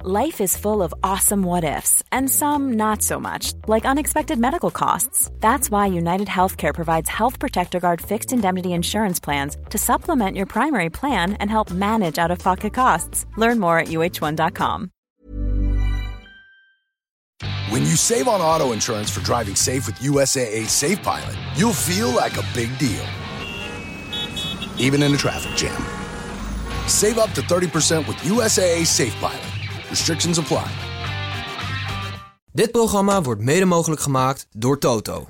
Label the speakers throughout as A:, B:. A: Life is full of awesome what ifs, and some not so much, like unexpected medical costs. That's why United Healthcare provides Health Protector Guard fixed indemnity insurance plans to supplement your primary plan and help manage out of pocket costs. Learn more at uh1.com.
B: When you save on auto insurance for driving safe with USAA Safe Pilot, you'll feel like a big deal, even in a traffic jam. Save up to 30% with USAA Safe Pilot. Restrictions apply.
C: Dit programma wordt mede mogelijk gemaakt door Toto.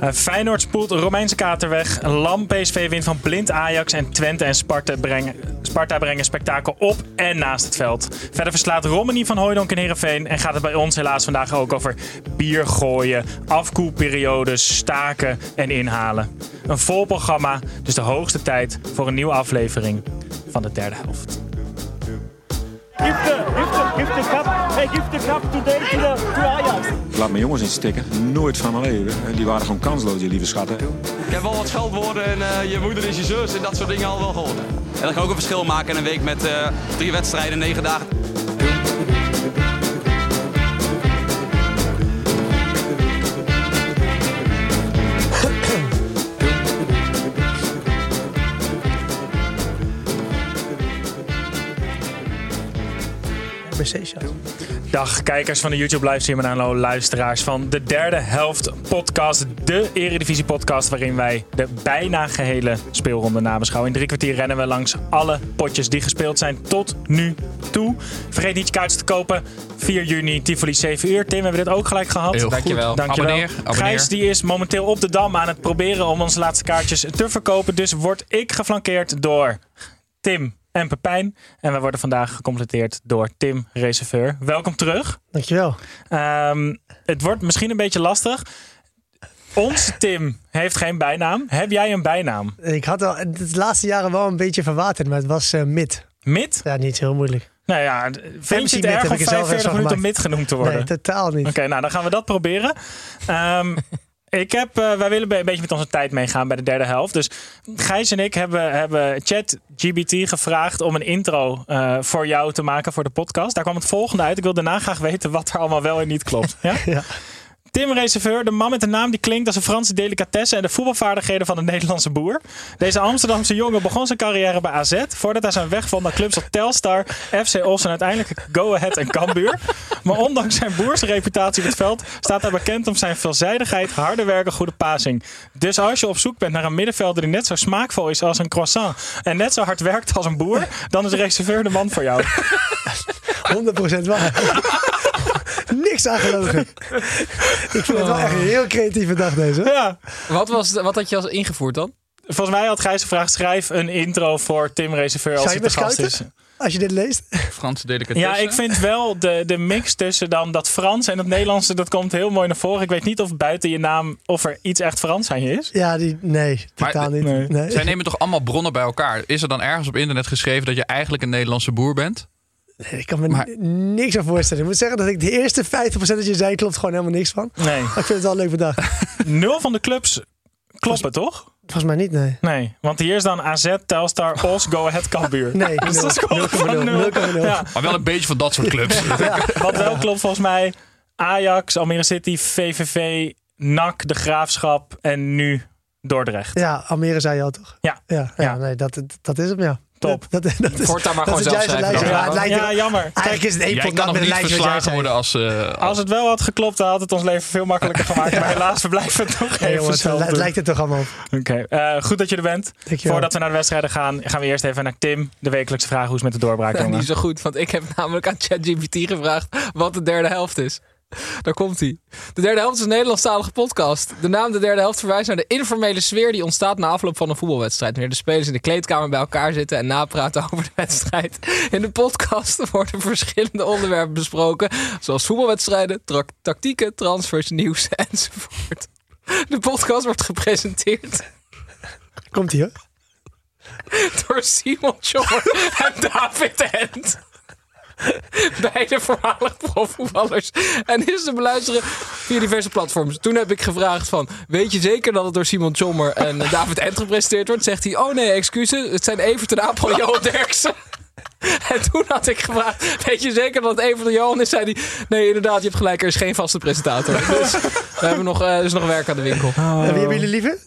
D: Eh, Feyenoord spoelt een Romeinse kater weg. Een lam PSV wint van blind Ajax. En Twente en Sparta brengen, Sparta brengen spektakel op en naast het veld. Verder verslaat Romani van Hooijdonk in Heerenveen. En gaat het bij ons helaas vandaag ook over bier gooien, afkoelperiodes, staken en inhalen. Een vol programma, dus de hoogste tijd voor een nieuwe aflevering van de derde helft.
E: Give the, give the, give the cup. Hey, give the cup today to the to Ajax.
F: Laat mijn jongens niet stikken. Nooit van mijn leven. Die waren gewoon kansloos, die lieve schatten.
G: Ik heb wel wat scheldwoorden en eh, je moeder is je zus en dat soort dingen al wel gehoord. En dat kan ook een verschil maken in een week met eh, drie wedstrijden, negen dagen.
D: Dag kijkers van de YouTube livestream en hallo luisteraars van de derde helft podcast. De Eredivisie podcast waarin wij de bijna gehele speelronde nabeschouwen. In drie kwartier rennen we langs alle potjes die gespeeld zijn tot nu toe. Vergeet niet je kaartjes te kopen. 4 juni, Tivoli 7 uur. Tim, hebben we dit ook gelijk gehad?
H: Heel goed. Dankjewel.
D: Dankjewel.
H: Abonneer, abonneer.
D: Gijs die is momenteel op de Dam aan het proberen om onze laatste kaartjes te verkopen. Dus word ik geflankeerd door Tim en Pepijn. En wij worden vandaag gecompleteerd door Tim Reserveur. Welkom terug.
I: Dankjewel.
D: Ehm, het wordt misschien een beetje lastig. Onze Tim heeft geen bijnaam. Heb jij een bijnaam?
I: Ik had al de laatste jaren wel een beetje verwaterd, maar het was eh, mid.
D: Mid?
I: Ja, niet heel moeilijk.
D: Nou ja, vind je
I: Fancy
D: het
I: Mid heb
D: erg om
I: ik er zelf
D: 45
I: eens van
D: minuten
I: gemaakt.
D: mid genoemd te worden?
I: Nee, totaal niet.
D: Oké, nou dan gaan we dat proberen. Ehm, ik heb, eh, wij willen be- een beetje met onze tijd meegaan bij de derde helft. Dus Gijs en ik hebben, hebben ChatGBT gevraagd om een intro eh, voor jou te maken voor de podcast. Daar kwam het volgende uit. Ik wil daarna graag weten wat er allemaal wel en niet klopt. Ja?
I: Ja.
D: Tim Reserveur, de man met de naam die klinkt als een Franse delicatesse en de voetbalvaardigheden van een Nederlandse boer. Deze Amsterdamse jongen begon zijn carrière bij AZ voordat hij zijn weg vond naar clubs als Telstar, FC Os en uiteindelijk Go Ahead en Cambuur. Maar ondanks zijn boersreputatie op het veld staat hij bekend om zijn veelzijdigheid, harde werken, goede passing. Dus als je op zoek bent naar een middenvelder die net zo smaakvol is als een croissant en net zo hard werkt als een boer, dan is Reserveur de man voor jou.
I: 100% waar. Niks aan gelogen. Ik vind het wel echt een heel creatieve dag deze.
D: Ja.
H: Wat, was, wat had je als ingevoerd dan?
D: Volgens mij had Gijs gevraagd: schrijf een intro voor Tim Reserveur als
I: Zou
D: hij
I: je
D: te
I: me
D: gast is.
I: scouten? Als je dit leest.
H: Franse delicatessen?
D: Ja, ik vind wel de, de mix tussen dan dat Frans en dat Nederlandse, dat komt heel mooi naar voren. Ik weet niet of buiten je naam, of er iets echt Frans aan je is.
I: Ja, die, nee,
H: Maar-
I: totaal niet.
D: nee.
I: Nee.
H: Zij nemen toch allemaal bronnen bij elkaar? Is er dan ergens op internet geschreven dat je eigenlijk een Nederlandse boer bent?
I: Nee, ik kan me
H: Maar-
I: n- niks aan voorstellen. Ik moet zeggen dat ik de eerste 50% dat je zei klopt gewoon helemaal niks van.
D: Nee.
I: Maar ik vind het wel een leuke dag.
D: Nul van de clubs kloppen, toch?
I: Volgens mij niet, nee.
D: Nee. Want hier is dan AZ, Telstar, Os, Go Ahead, Cambuur.
I: Nee,
D: Dus dat is gewoon
I: nul.
D: gewoon
I: 0,0.
D: nul.
I: 0,0.
D: Ja.
H: Maar wel een beetje van dat soort clubs.
D: Wat wel klopt volgens mij, Ajax, Almere City, VVV, NAC, De Graafschap en nu Dordrecht.
I: Ja, Almere zei je al toch?
D: Ja.
I: Ja, ja,
D: Ja.
I: nee, dat, dat is hem, ja.
D: Top.
I: Dat, dat, dat is,
H: Voortaan maar
I: dat
H: gewoon
I: is het
H: zelf
I: juiste
H: schrijven
I: lijstje.
H: dan.
I: Ja, het lijkt
D: Ja,
I: er-
D: jammer. Kijk,
I: Eigenlijk is het één
H: Jij
I: pot
H: kan nog
I: met een
H: niet
I: lijstje wat jij
H: verslagen
I: zei.
H: worden als... eh,
D: Als het wel had geklopt, dan had het ons leven veel makkelijker gemaakt. Maar helaas, we blijven het toch
I: Nee,
D: even
I: jongens,
D: zelf
I: het
D: doen.
I: lijkt het toch allemaal op.
D: Oké, eh, goed dat je er bent.
I: Dankjewel.
D: Voordat we naar de wedstrijden gaan, gaan we eerst even naar Tim. De wekelijkse vraag, hoe is het met de doorbraak,
J: Nou,
D: jongen?
J: niet zo goed, want ik heb namelijk aan ChatGPT gevraagd wat de derde helft is. Daar komt hij. De derde helft is een Nederlandstalige podcast. De naam de derde helft verwijst naar de informele sfeer die ontstaat na afloop van een voetbalwedstrijd. Wanneer de spelers in de kleedkamer bij elkaar zitten en napraten over de wedstrijd. In de podcast worden verschillende onderwerpen besproken, zoals voetbalwedstrijden, tra- tactieken, transfers, nieuws enzovoort. De podcast wordt gepresenteerd
I: Komt ie hoor.
J: door Simon Schor en David Hent. Beide voormalig profvoetballers. En is te beluisteren via diverse platforms. Toen heb ik gevraagd van... Weet je zeker dat het door Simon Sommer en David Ent gepresenteerd wordt? Zegt hij, oh nee, excuses. Het zijn Everton Apel en Johan Derksen. En toen had ik gevraagd, weet je zeker dat het een van de Johan is? Zei die, nee inderdaad, je hebt gelijk, er is geen vaste presentator. Dus we hebben nog, eh, er is nog werk aan de winkel.
I: En wie hebben jullie liever?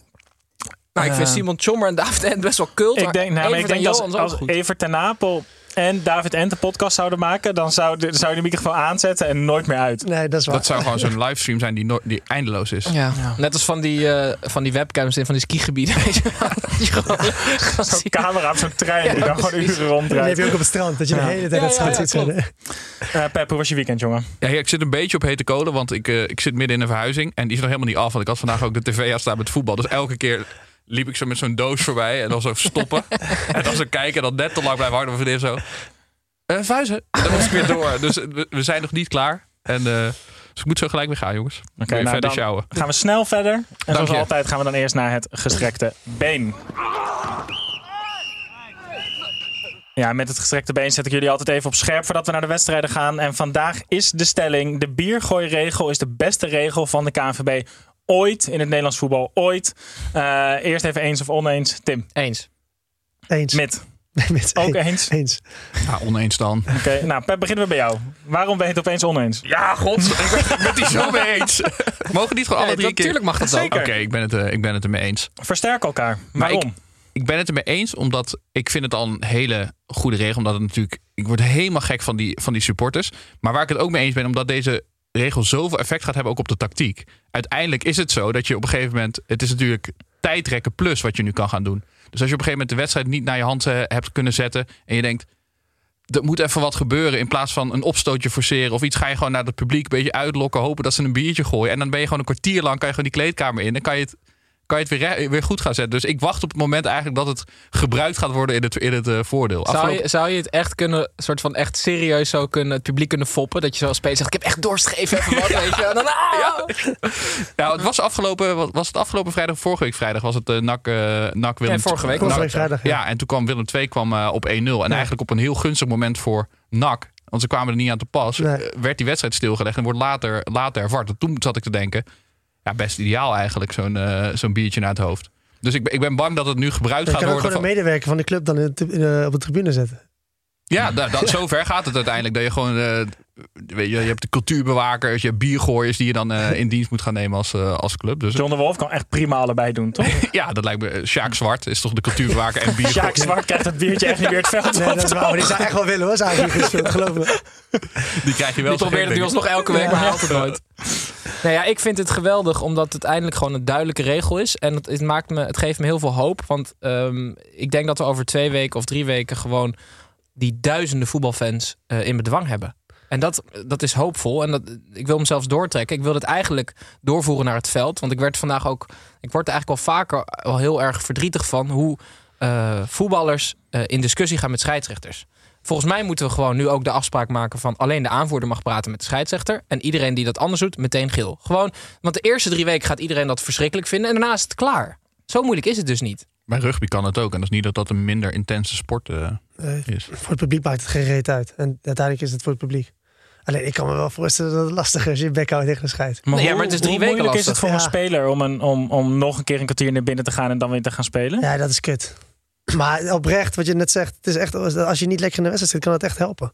J: Nou, ik vind Simon Chommer en David Ent best wel kult.
D: Ik
J: maar
D: denk, nou, maar ik
J: Evert en
D: denk dat
J: Johan
D: als,
J: zijn ook
D: als
J: goed.
D: Evert en Napel en David Ent de podcast zouden maken, dan zou, de, zou je de microfoon aanzetten en nooit meer uit.
I: Nee, dat is waar.
H: Dat zou gewoon zo'n livestream zijn die, no- die eindeloos is.
J: Ja. Net als van die, eh, van die webcams in van die skigebieden. Weet je wel. Dat je gewoon- gewoon
D: Zo'n
J: ziet.
D: camera op zo'n trein die dan gewoon uren
I: Dan heb
D: ronddraait.
I: je ook op het strand, dat je de hele tijd
J: Ja,
I: aan het strand
J: ja, ja,
I: zit. zo,
J: klopt.
I: hè?
D: Eh, Pep, hoe was je weekend, jongen?
H: Ja, ik zit een beetje op hete kolen, want ik, eh, ik zit midden in een verhuizing. En die is nog helemaal niet af, want ik had vandaag ook de tv staan met voetbal. Dus elke keer liep ik zo met zo'n doos voorbij en dan zo stoppen. en dan zo kijken, dan net te lang blijven hangen. Mijn vriendin zo, eh vuizen. En dan was ik weer door. Dus eh, we, we zijn nog niet klaar. En, eh, dus ik moet zo gelijk weer gaan, jongens. Oké,
D: nou,
H: verder
D: dan-
H: sjouwen.
D: Gaan we snel verder. En zoals
H: je.
D: altijd gaan we dan eerst naar het gestrekte been. Ja, met het gestrekte been zet ik jullie altijd even op scherp voordat we naar de wedstrijden gaan. En vandaag is de stelling: de biergooiregel is de beste regel van de KNVB ooit in het Nederlands voetbal. Ooit. Eh, eerst even eens of oneens. Tim,
J: Eens.
I: Eens.
D: mid.
I: Met-
D: Ook eens.
I: Eens.
H: Ja, oneens dan.
D: Oké, nou, Pep, beginnen we bij jou. Waarom ben je het opeens oneens?
H: Ja, god. Ik ben- ik ben het hier zo mee eens. Mogen niet gewoon alle
J: Nee,
H: drie keer...
J: Natuurlijk mag dat ook.
H: Oké, ik ben het, eh, ik ben het ermee eens.
D: Versterk elkaar.
H: Maar ik-
D: Waarom?
H: ik ben het ermee eens, omdat ik vind het al een hele goede regel. Omdat het natuurlijk, ik word helemaal gek van die, van die supporters. Maar waar ik het ook mee eens ben, omdat deze regel zoveel effect gaat hebben ook op de tactiek. Uiteindelijk is het zo dat je op een gegeven moment, het is natuurlijk tijdrekken plus wat je nu kan gaan doen. Dus als je op een gegeven moment de wedstrijd niet naar je hand eh, hebt kunnen zetten en je denkt, er moet even wat gebeuren in plaats van een opstootje forceren of iets, ga je gewoon naar het publiek een beetje uitlokken, hopen dat ze een biertje gooien en dan ben je gewoon een kwartier lang kan je gewoon die kleedkamer in en kan je het kan je het weer, re- weer goed gaan zetten. Dus ik wacht op het moment eigenlijk dat het gebruikt gaat worden in het, in het eh, voordeel.
J: Zou
H: Afgelopen-
J: je, zou je het echt kunnen, soort van echt serieus zo kunnen, het publiek kunnen foppen? Dat je zoals Peter zegt, ik heb echt dorst, geef even wat, weet je. En dan, ah!
H: Nou, het was afgelopen, wat- was het afgelopen vrijdag, of vorige week vrijdag, was het eh NAC, eh NAC Willem
J: Ja, vorige week.
H: NAC-
I: Vorige week vrijdag, ja.
H: Ja. en toen kwam Willem 2 kwam, eh, op 1-0. En eigenlijk op een heel gunstig moment voor NAC, want ze kwamen er niet aan te pas,
I: Nee.
H: eh, werd die wedstrijd stilgelegd en wordt later, later ervart. En toen zat ik te denken, ja, best ideaal eigenlijk, zo'n eh, zo'n biertje naar het hoofd. Dus ik, ben- ik ben bang dat het nu gebruikt
I: Je
H: gaat
I: kan ook
H: worden.
I: gewoon een
H: van-
I: medewerker van de club dan in het- in, eh, op de tribune zetten.
H: Ja, dat, dat, zover gaat het uiteindelijk. Dat je gewoon. eh, weet je, je hebt de cultuurbewakers, je hebt biergooiers die je dan eh, in dienst moet gaan nemen als, eh, als club. Dus
D: John de Wolf kan echt prima allebei doen, toch?
H: ja, dat lijkt me. eh, Sjaak Zwart is toch de cultuurbewaker en biergooier.
D: Sjaak Zwart krijgt het biertje echt niet weer het veld
I: Nee,
D: op,
I: dat is waar. Maar die zou echt wel willen hoor, zou eigenlijk gespeeld, geloof me.
H: Die krijg je wel
J: Die probeert
H: te gek,
J: het nu
H: denk ik.
J: alsnog elke week, maar hij haalt het nooit. Nou ja, ik vind het geweldig, omdat het eindelijk gewoon een duidelijke regel is. En het, het maakt me, het geeft me heel veel hoop. Want ehm, ik denk dat we over twee weken of drie weken gewoon die duizenden voetbalfans eh, in bedwang hebben. En dat, dat is hoopvol. En dat, ik wil hem zelfs doortrekken. Ik wil het eigenlijk doorvoeren naar het veld. Want ik werd vandaag ook. Ik word er eigenlijk wel vaker al heel erg verdrietig van hoe eh, voetballers eh, in discussie gaan met scheidsrechters. Volgens mij moeten we gewoon nu ook de afspraak maken van alleen de aanvoerder mag praten met de scheidsrechter. En iedereen die dat anders doet, meteen geel. Gewoon, want de eerste drie weken gaat iedereen dat verschrikkelijk vinden. En daarna is het klaar. Zo moeilijk is het dus niet.
H: Bij rugby kan het ook. En dat is niet dat dat een minder intense sport eh,
I: Nee.
H: is.
I: Voor het publiek maakt het geen reet uit. En uiteindelijk is het voor het publiek. Alleen ik kan me wel voorstellen dat het lastig is als je je bek houdt tegen de scheid.
J: Nee, ja,
D: hoe-
J: maar het is drie
D: hoe
J: weken
D: moeilijk is het
J: lastig.
D: voor een
I: Ja.
D: speler om, een, om, om nog een keer een kwartier naar binnen te gaan en dan weer te gaan spelen?
I: Ja, dat is kut. Maar oprecht, wat je net zegt, het is echt, als je niet lekker in de wedstrijd zit, kan het echt helpen.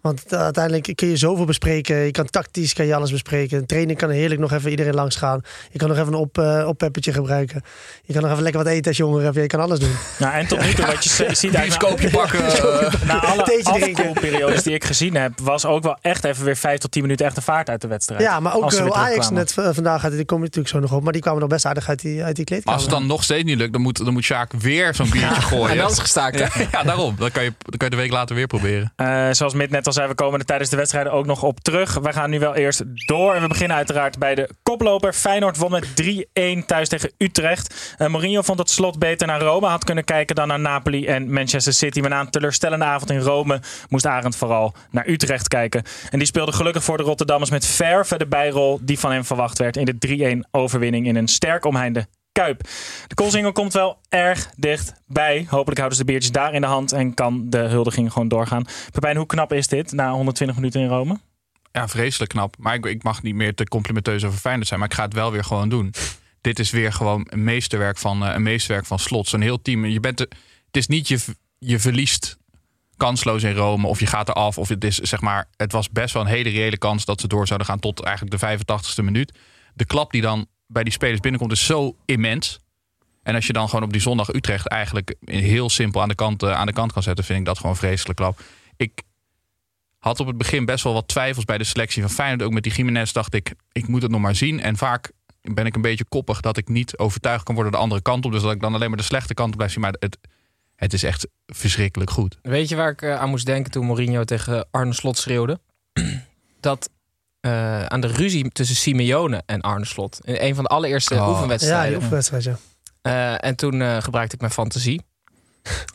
I: Want eh, uiteindelijk kun je zoveel bespreken. Je kan tactisch kan je alles bespreken. Een training kan heerlijk nog even iedereen langs gaan. Je kan nog even een op, eh, oppeppertje gebruiken. Je kan nog even lekker wat eten als je honger hebt. Je kan alles doen.
D: Nou, en tot nu toe, wat je z- ziet uit
H: Bioscoopje pakken. eh,
D: na, na alle
I: Theetje drinken.
D: afkoelperiodes die ik gezien heb, was ook wel echt even weer 5 tot 10 minuten echt de vaart uit de wedstrijd.
I: Ja, maar ook
D: Als ze
I: eh,
D: weer
I: Ajax
D: terugkwamen.
I: net v- vandaag uit. Die kom je natuurlijk zo nog op. Maar die kwamen nog best aardig uit die, uit die
H: maar
I: kleedkamer.
H: als het dan nog steeds niet lukt, dan moet, dan moet Sjaak weer zo'n biertje
J: En
H: gooien.
J: dan is het gestaakt. hè?
H: Ja, daarom. Dan kan, je, dan kan je de week later weer proberen.
D: Eh, zoals Mid net al zei, we komen er tijdens de wedstrijden ook nog op terug. Wij gaan nu wel eerst door. En we beginnen uiteraard bij de koploper. Feyenoord won met 3-1 thuis tegen Utrecht. Eh, Mourinho vond het slot beter naar Rome. Had kunnen kijken dan naar Napoli en Manchester City. Maar na een teleurstellende avond in Rome moest Arend vooral naar Utrecht kijken. En die speelde gelukkig voor de Rotterdammers met verve de bijrol die van hem verwacht werd. In de 3-1 overwinning in een sterk omheinde Kuip. De Koolsingel komt wel erg dichtbij. Hopelijk houden ze de biertjes daar in de hand en kan de huldiging gewoon doorgaan. Pepijn, hoe knap is dit na 120 minuten in Rome?
H: Ja, vreselijk knap. Maar ik, ik mag niet meer te complimenteus over Feyenoord zijn. Maar ik ga het wel weer gewoon doen. Dit is weer gewoon een meesterwerk van, eh, een meesterwerk van slot. Een heel team. Je bent de- het is niet je, v- je verliest kansloos in Rome. Of je gaat eraf. Of het, is, zeg maar, het was best wel een hele reële kans dat ze door zouden gaan tot eigenlijk de 85ste minuut. De klap die dan bij die spelers binnenkomt is zo immens. En als je dan gewoon op die zondag Utrecht eigenlijk heel simpel aan de kant, eh, aan de kant kan zetten, vind ik dat gewoon een vreselijk klap. Ik had op het begin best wel wat twijfels bij de selectie van Feyenoord. Ook met die Jiménez dacht ik, ik moet het nog maar zien. En vaak ben ik een beetje koppig dat ik niet overtuigd kan worden de andere kant op. Dus dat ik dan alleen maar de slechte kant op blijf zien. Maar het, het is echt verschrikkelijk goed.
J: Weet je waar ik eh, aan moest denken toen Mourinho tegen Arne Slot schreeuwde? Dat eh, aan de ruzie tussen Simeone en Arne Slot. In een van de allereerste
I: Oh. Ja, die
J: oefenwedstrijden.
I: oefenwedstrijd, ja.
J: Eh, en toen eh, gebruikte ik mijn fantasie.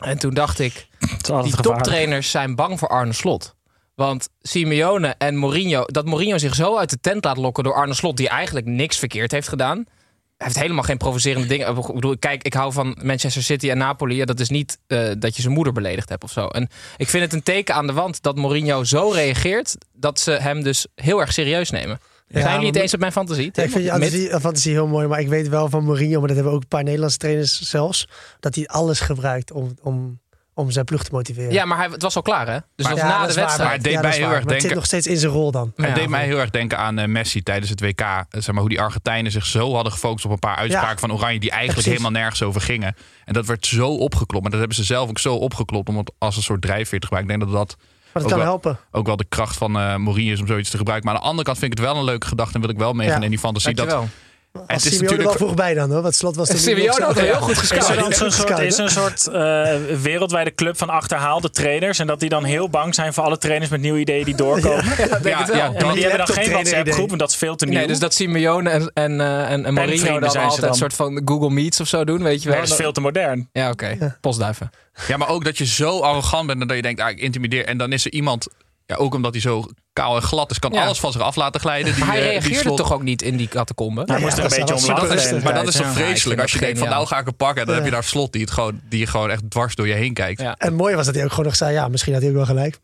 J: en toen dacht ik, die
D: gevaarlijk.
J: toptrainers zijn bang voor Arne Slot. Want Simeone en Mourinho, dat Mourinho zich zo uit de tent laat lokken door Arne Slot, die eigenlijk niks verkeerd heeft gedaan. Hij heeft helemaal geen provocerende dingen. Ik bedoel, kijk, ik hou van Manchester City en Napoli. Ja, dat is niet eh, dat je zijn moeder beledigd hebt of zo. En ik vind het een teken aan de wand dat Mourinho zo reageert dat ze hem dus heel erg serieus nemen.
I: Ja,
J: zijn jullie het
I: maar-
J: eens op mijn fantasie?
I: Ja, ik vind je
J: Met-
I: fantasie, fantasie heel mooi, maar ik weet wel van Mourinho, maar dat hebben ook een paar Nederlandse trainers zelfs, dat hij alles gebruikt om, om, om zijn ploeg te motiveren.
J: Ja, maar hij, het was al klaar, hè? Dus dat
I: Maar-
J: was
I: Ja,
J: na
I: dat
J: de
I: is waar,
J: wedstrijd.
H: maar het deed
I: Ja,
H: mij
I: dat is
H: heel
I: waar,
H: erg
I: maar het
H: denken.
I: zit nog steeds in zijn rol dan.
H: het
J: Ja.
H: deed mij heel erg denken aan eh, Messi tijdens het WK. Eh, Zeg maar, hoe die Argentijnen zich zo hadden gefocust op een paar uitspraken
I: Ja.
H: van Oranje... die eigenlijk
I: precies.
H: helemaal nergens over gingen. En dat werd zo opgeklopt. En dat hebben ze zelf ook zo opgeklopt om het als een soort drijfveer te gebruiken. Ik denk dat dat
I: Maar
H: ook
I: dat kan
H: wel-
I: helpen.
H: ook wel de kracht van eh Mourinho is om zoiets te gebruiken. Maar aan de andere kant vind ik het wel een leuke gedachte en wil ik wel meegaan
I: Ja,
H: in die fantasie. Dat,
J: Dankjewel.
H: en
I: Als
H: het is
I: Simeone wel
H: natuurlijk.
I: vroeg bij dan, hoor. Wat slot was toen niet
J: Simeone
I: nog zo-
J: had er heel goed gescout.
D: Is er dan
I: Ja,
D: zo'n
I: goed
D: soort,
I: gescout,
D: is er een soort eh, wereldwijde club van achterhaalde trainers? En dat die dan heel bang zijn voor alle trainers met nieuwe ideeën die doorkomen?
J: Ja, denk
H: Ja,
J: het wel.
H: ja,
D: En
H: dan,
D: die hebben dan geen
I: laptop-trainer idee.
D: WhatsApp-groep, want dat is veel te nieuw.
J: Nee, dus dat Simeone en, en, eh en, en Mourinho
D: Penvrienden
J: dan
D: zijn ze
J: altijd een
D: dan.
J: soort van Google Meets of zo doen, weet je wel.
D: Nee, dat is veel te modern.
J: Ja, oké. Postduiven.
H: ja, maar ook dat je zo arrogant bent en dat je denkt, ah, ik intimideer. En dan is er iemand, ja, ook omdat hij zo kaal en glad is, kan
J: Ja.
H: alles van zich af laten glijden. Die,
J: Maar hij
H: eh, die
J: reageerde
H: slot.
J: toch ook niet in die catacombe?
D: Hij
I: Ja,
D: moest er
I: dat
D: een beetje
I: is wel
D: om
I: super
D: lachen. de
I: rustig.
D: hele
H: Maar
D: tijd,
H: dat is toch
D: ja.
J: Ja, ik vind
H: vreselijk als je
J: dat
H: denkt van
J: geniaal.
H: nou ga ik hem pakken. En dan
I: Ja.
H: heb je daar slot die, het gewoon, die gewoon echt dwars door je heen kijkt.
J: Ja.
I: En mooi was dat hij ook gewoon nog zei, ja, misschien had hij ook wel gelijk.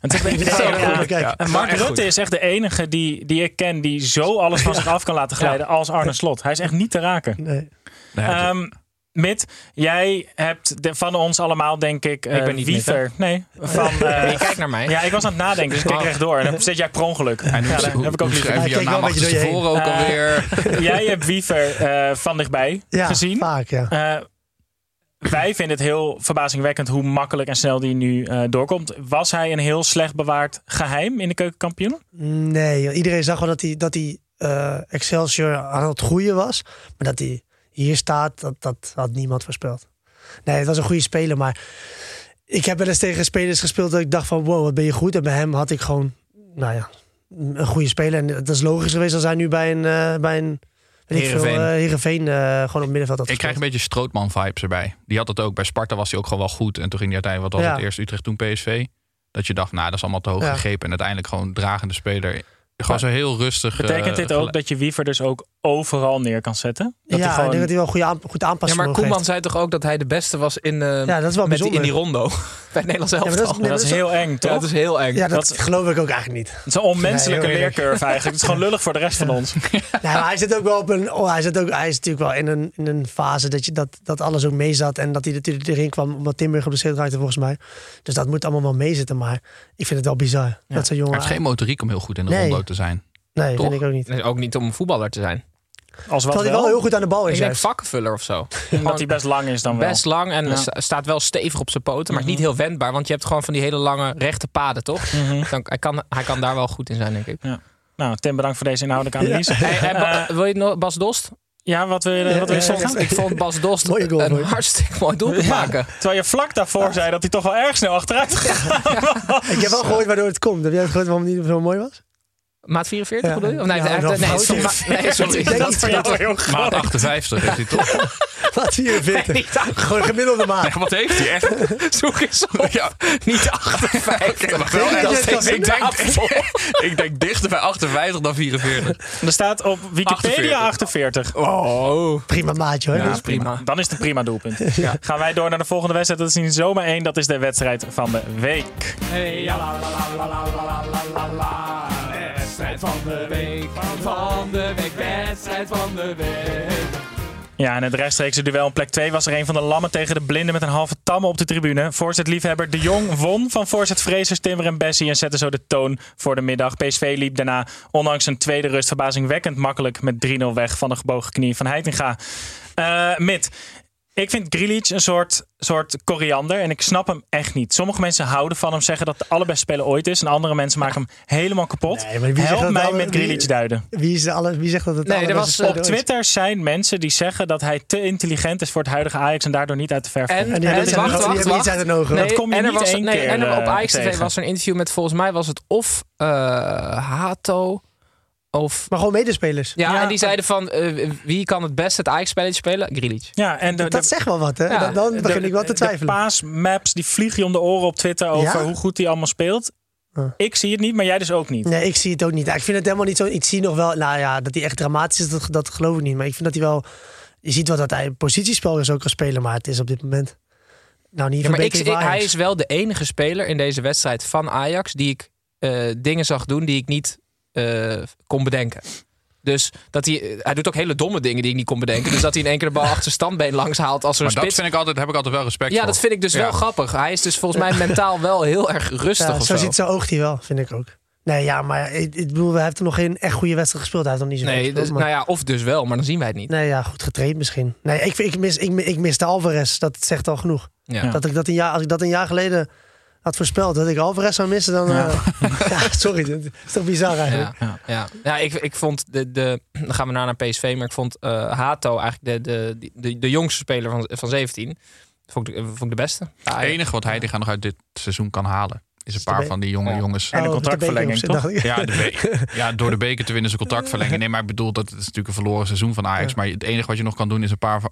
D: En toen denk ik,
I: Ja,
D: ja,
I: ja,
D: ja.
I: kijk.
D: En Mark Rutte is echt de enige die, die ik ken die zo alles van zich af kan laten glijden als Arne Slot. Hij is echt niet te raken.
I: Nee.
H: Nee, dat-
D: Ehm Mit, jij hebt de- van ons allemaal, denk ik, eh
J: Ik ben niet
D: Wiever. nee, van. eh,
J: Je kijkt naar mij.
D: ja, ik was aan het nadenken, dus ik keek rechtdoor. En dan zit jij per ongeluk. Ja,
H: en hoe,
D: daar
H: hoe-
D: heb ik ook
H: hoe schrijf
D: liever.
H: je
I: Ja,
H: jouw
I: kijk wel
H: naam
I: een beetje door je
H: achterstevoren
D: heen.
H: ook
D: Eh,
H: alweer?
D: Jij hebt Wiever eh, van dichtbij
I: Ja,
D: gezien.
I: vaak, ja.
D: Eh, wij vinden het heel verbazingwekkend hoe makkelijk en snel die nu eh, doorkomt. Was hij een heel slecht bewaard geheim in de keukenkampioen?
I: Nee, iedereen zag wel dat hij, dat hij eh, Excelsior aan het groeien was. Maar dat hij hier staat, dat, dat had niemand voorspeld. Nee, het was een goede speler, maar ik heb wel eens tegen spelers gespeeld dat ik dacht van wow, wat ben je goed. En bij hem had ik gewoon, nou ja, een goede speler. En dat is logisch geweest als hij nu bij een, eh, bij een weet ik veel,
H: Heerenveen.
I: eh, Heerenveen eh, gewoon op middenveld had
H: Ik krijg een
I: gespeeld.
H: beetje Strootman-vibes erbij. Die had dat ook. Bij Sparta was hij ook gewoon wel goed. En toen ging hij uiteindelijk, wat was
I: Ja.
H: het eerst, Utrecht, toen PSV. Dat je dacht, nou, dat is allemaal te hoog
I: Ja.
H: gegrepen. En uiteindelijk gewoon dragende speler. Gewoon
D: Maar
H: zo heel rustig.
D: Betekent
H: eh,
D: dit ook
H: gele-
D: dat je Wiever dus ook overal neer kan zetten? Dat
I: ja,
D: hij gewoon-
I: ik denk dat hij wel een goede aan, goed
J: Ja, maar
I: aanpassing
J: Koeman zei toch ook dat hij de beste was in, eh
I: Ja, dat is wel
J: met die, in
I: bijzonder.
J: die rondo. Bij het Nederlands
I: maar dat is-
J: elftal.
I: nee,
D: Maar dat is heel eng, toch?
J: Ja, dat is heel eng.
I: Ja, dat,
D: dat-
I: geloof ik ook eigenlijk niet.
D: Het is een onmenselijke
I: Nee, heel eerlijk.
D: leercurve eigenlijk. Het is gewoon lullig voor de rest van ons.
I: Nou, maar hij zit ook wel op een. Oh, hij, zit ook, hij is natuurlijk wel in een, in een fase dat, je, dat, dat alles ook mee zat. En dat hij natuurlijk erin kwam omdat Timber geblesseerd raakte, volgens mij. Dus dat moet allemaal wel meezitten. Maar ik vind het wel bizar. Dat zo'n
H: Hij
I: jongen.
H: heeft geen motoriek om heel goed in de
I: Nee.
H: rondo te zijn.
I: nee,
H: toch?
I: vind ik ook niet.
J: Nee, ook niet om een voetballer te zijn.
D: Als wat
I: Terwijl hij wel heel goed aan de bal
J: Ik
I: is.
J: denk
I: juist.
J: vakkenvuller of zo.
D: Dat hij best lang is dan wel.
J: Best lang en
D: Ja. Mhm.
J: sta- staat wel stevig op zijn poten, maar is niet heel wendbaar. Want je hebt gewoon van die hele lange rechte paden, toch? Dan, hij, kan, hij kan daar wel goed in zijn, denk ik.
D: Nou, Tim, bedankt voor deze inhoudelijke analyse.
J: Hey, hey, Ba- wil je nog Bas Dost?
D: Ja, wat wil je, wat wil je
I: Ja, ja,
D: zeggen?
J: Ik vond Bas Dost
I: Mooie goal,
J: een
I: hoor.
J: hartstikke mooi doelpunt maken.
D: Terwijl je vlak daarvoor zei dat hij toch wel erg snel achteruit ging.
I: Ik heb wel gehoord waardoor het komt. Heb jij het gehoord waarom het niet zo mooi was?
J: Maat 44
I: Ja.
J: bedoel je? Of nee,
I: Ja,
J: hij heeft-
I: dat
J: nee,
I: fout
J: sorry.
I: is.
J: nee, sorry. Dat
I: denk iets
J: is
I: van jou.
J: dat-
D: heel
H: Maat 58 is hij toch?
I: Wat 44.
J: niet achter-
I: Gewoon gemiddelde maat.
H: Ja, wat heeft hij echt?
J: Zoek eens op.
H: Ja,
J: Niet 58.
H: maar wel
I: Denk je
H: echt.
I: dat je het
H: ik,
J: kan
H: denk, ik denk dichter bij 58 dan 44.
D: Er staat op Wikipedia 48.
J: Oh,
I: Prima maatje hoor.
J: dat
I: Dus-
J: is prima.
D: Dan is het een prima doelpunt. Gaan wij door naar de volgende wedstrijd. Dat is niet zomaar één. Dat is de wedstrijd van de week.
G: Wedstrijd van de week, van de week, wedstrijd van de week.
D: Ja, en het rechtstreekse duel om plek 2 was er een van de lammen tegen de blinden met een halve tamme op de tribune. Voorzet-liefhebber De Jong won van voorzet-vrezers Timmer en Bessie en zette zo de toon voor de middag. PSV liep daarna, ondanks een tweede rust, verbazingwekkend makkelijk met 3-0 weg van de gebogen knie van Heitinga. Eh Mid, ik vind Grealish een soort, soort koriander en ik snap hem echt niet. Sommige mensen houden van hem, zeggen dat de allerbeste speler ooit is en andere mensen maken hem helemaal kapot.
I: maar wie zegt
D: Help
I: dat
D: mij
I: alle-
D: met
I: wie-
D: Grealish duiden.
I: Wie, is de alle, wie zegt dat het
J: Nee, er
I: allerbeste
J: was, eh,
I: speler
D: Op
I: ooit is?
D: Twitter zijn mensen die zeggen dat hij te intelligent is voor het huidige Ajax en daardoor niet uit de verf komt.
J: En,
I: En die
J: en,
I: hebben
J: wacht,
I: iets- die
J: wacht,
I: hebben
J: wacht.
I: iets uit hun ogen.
D: Dat kom je
J: en er
D: niet
J: was,
D: één
J: nee,
D: keer,
J: En er, op
D: eh,
J: Ajax TV
D: tegen.
J: was er een interview met, volgens mij was het of eh, Hato of...
I: Maar gewoon medespelers.
J: Ja,
D: Ja,
J: en die zeiden van, eh, wie kan het best het Ajax-spelletje spelen? Grealish.
D: Ja, en de,
I: dat
D: de-
I: zegt wel wat, hè?
J: nou, Ja,
I: Dan- dan begin
D: de-
I: ik wel te
D: De
I: twijfelen.
D: paasmaps die vliegen je om de oren op Twitter over
I: Ja?
D: hoe goed hij allemaal speelt.
I: Ja.
D: Ik zie het niet, maar jij dus ook niet.
I: Nee, ik zie het ook niet. Ja, Ik vind het helemaal niet zo. Ik zie nog wel, nou ja, dat hij echt dramatisch is, dat, dat geloof ik niet. Maar ik vind dat hij wel. Je ziet wel dat hij positiespel dus ook kan spelen, maar het is op dit moment. Nou, niet
J: Ja, maar ik, ik-
I: verbetering voor
J: hij
I: Ajax.
J: is wel de enige speler in deze wedstrijd van Ajax die ik eh, dingen zag doen die ik niet eh, kon bedenken. Dus dat hij, hij doet ook hele domme dingen die ik niet kon bedenken. Dus dat hij in één keer de bal achter zijn standbeen langs haalt als er een
H: Maar dat
J: spits
H: vind ik altijd, heb ik altijd wel respect
J: Ja,
H: voor.
J: dat vind ik dus wel
H: Ja.
J: grappig. Hij is dus volgens mij mentaal wel heel erg rustig.
I: Ja,
J: of
I: zo
J: zo
I: ziet zijn oog hij wel, vind ik ook. Nee, ja, maar ik, ik bedoel, hij heeft er nog geen echt goede wedstrijd gespeeld. Hij heeft nog niet zo
J: Nee,
I: gespeeld,
J: dus,
I: maar-
J: nou ja, of dus wel, maar dan zien wij het niet.
I: Nee, ja, goed getraind misschien. Nee, ik, ik, mis, ik, ik mis de Alvarez. Dat zegt al genoeg.
J: Ja.
I: Dat ik dat een jaar, als ik dat een jaar geleden had voorspeld, dat ik Alvarez zou missen, dan...
D: Ja.
I: Ja, ja sorry, dat is toch bizar eigenlijk.
J: Ja, ja. ja. ik, ik vond de, de. Dan gaan we naar naar PSV, maar ik vond eh, Hato eigenlijk de, de, die- de, de jongste speler van, van 17. Vond ik, de- vond ik de beste.
H: Het enige wat hij die gaan nog uit dit seizoen kan halen, is een paar
I: de-
H: van die jonge
J: Ja.
H: jongens.
D: En de
I: Oh,
D: contractverlenging,
I: dat deed ik ook, dacht ik.
H: Ja, de be- ja, door de beker te winnen ze contract verlengen. Nee, maar ik bedoel, dat het is natuurlijk een verloren seizoen van Ajax. Maar het enige wat je nog kan doen is een paar va-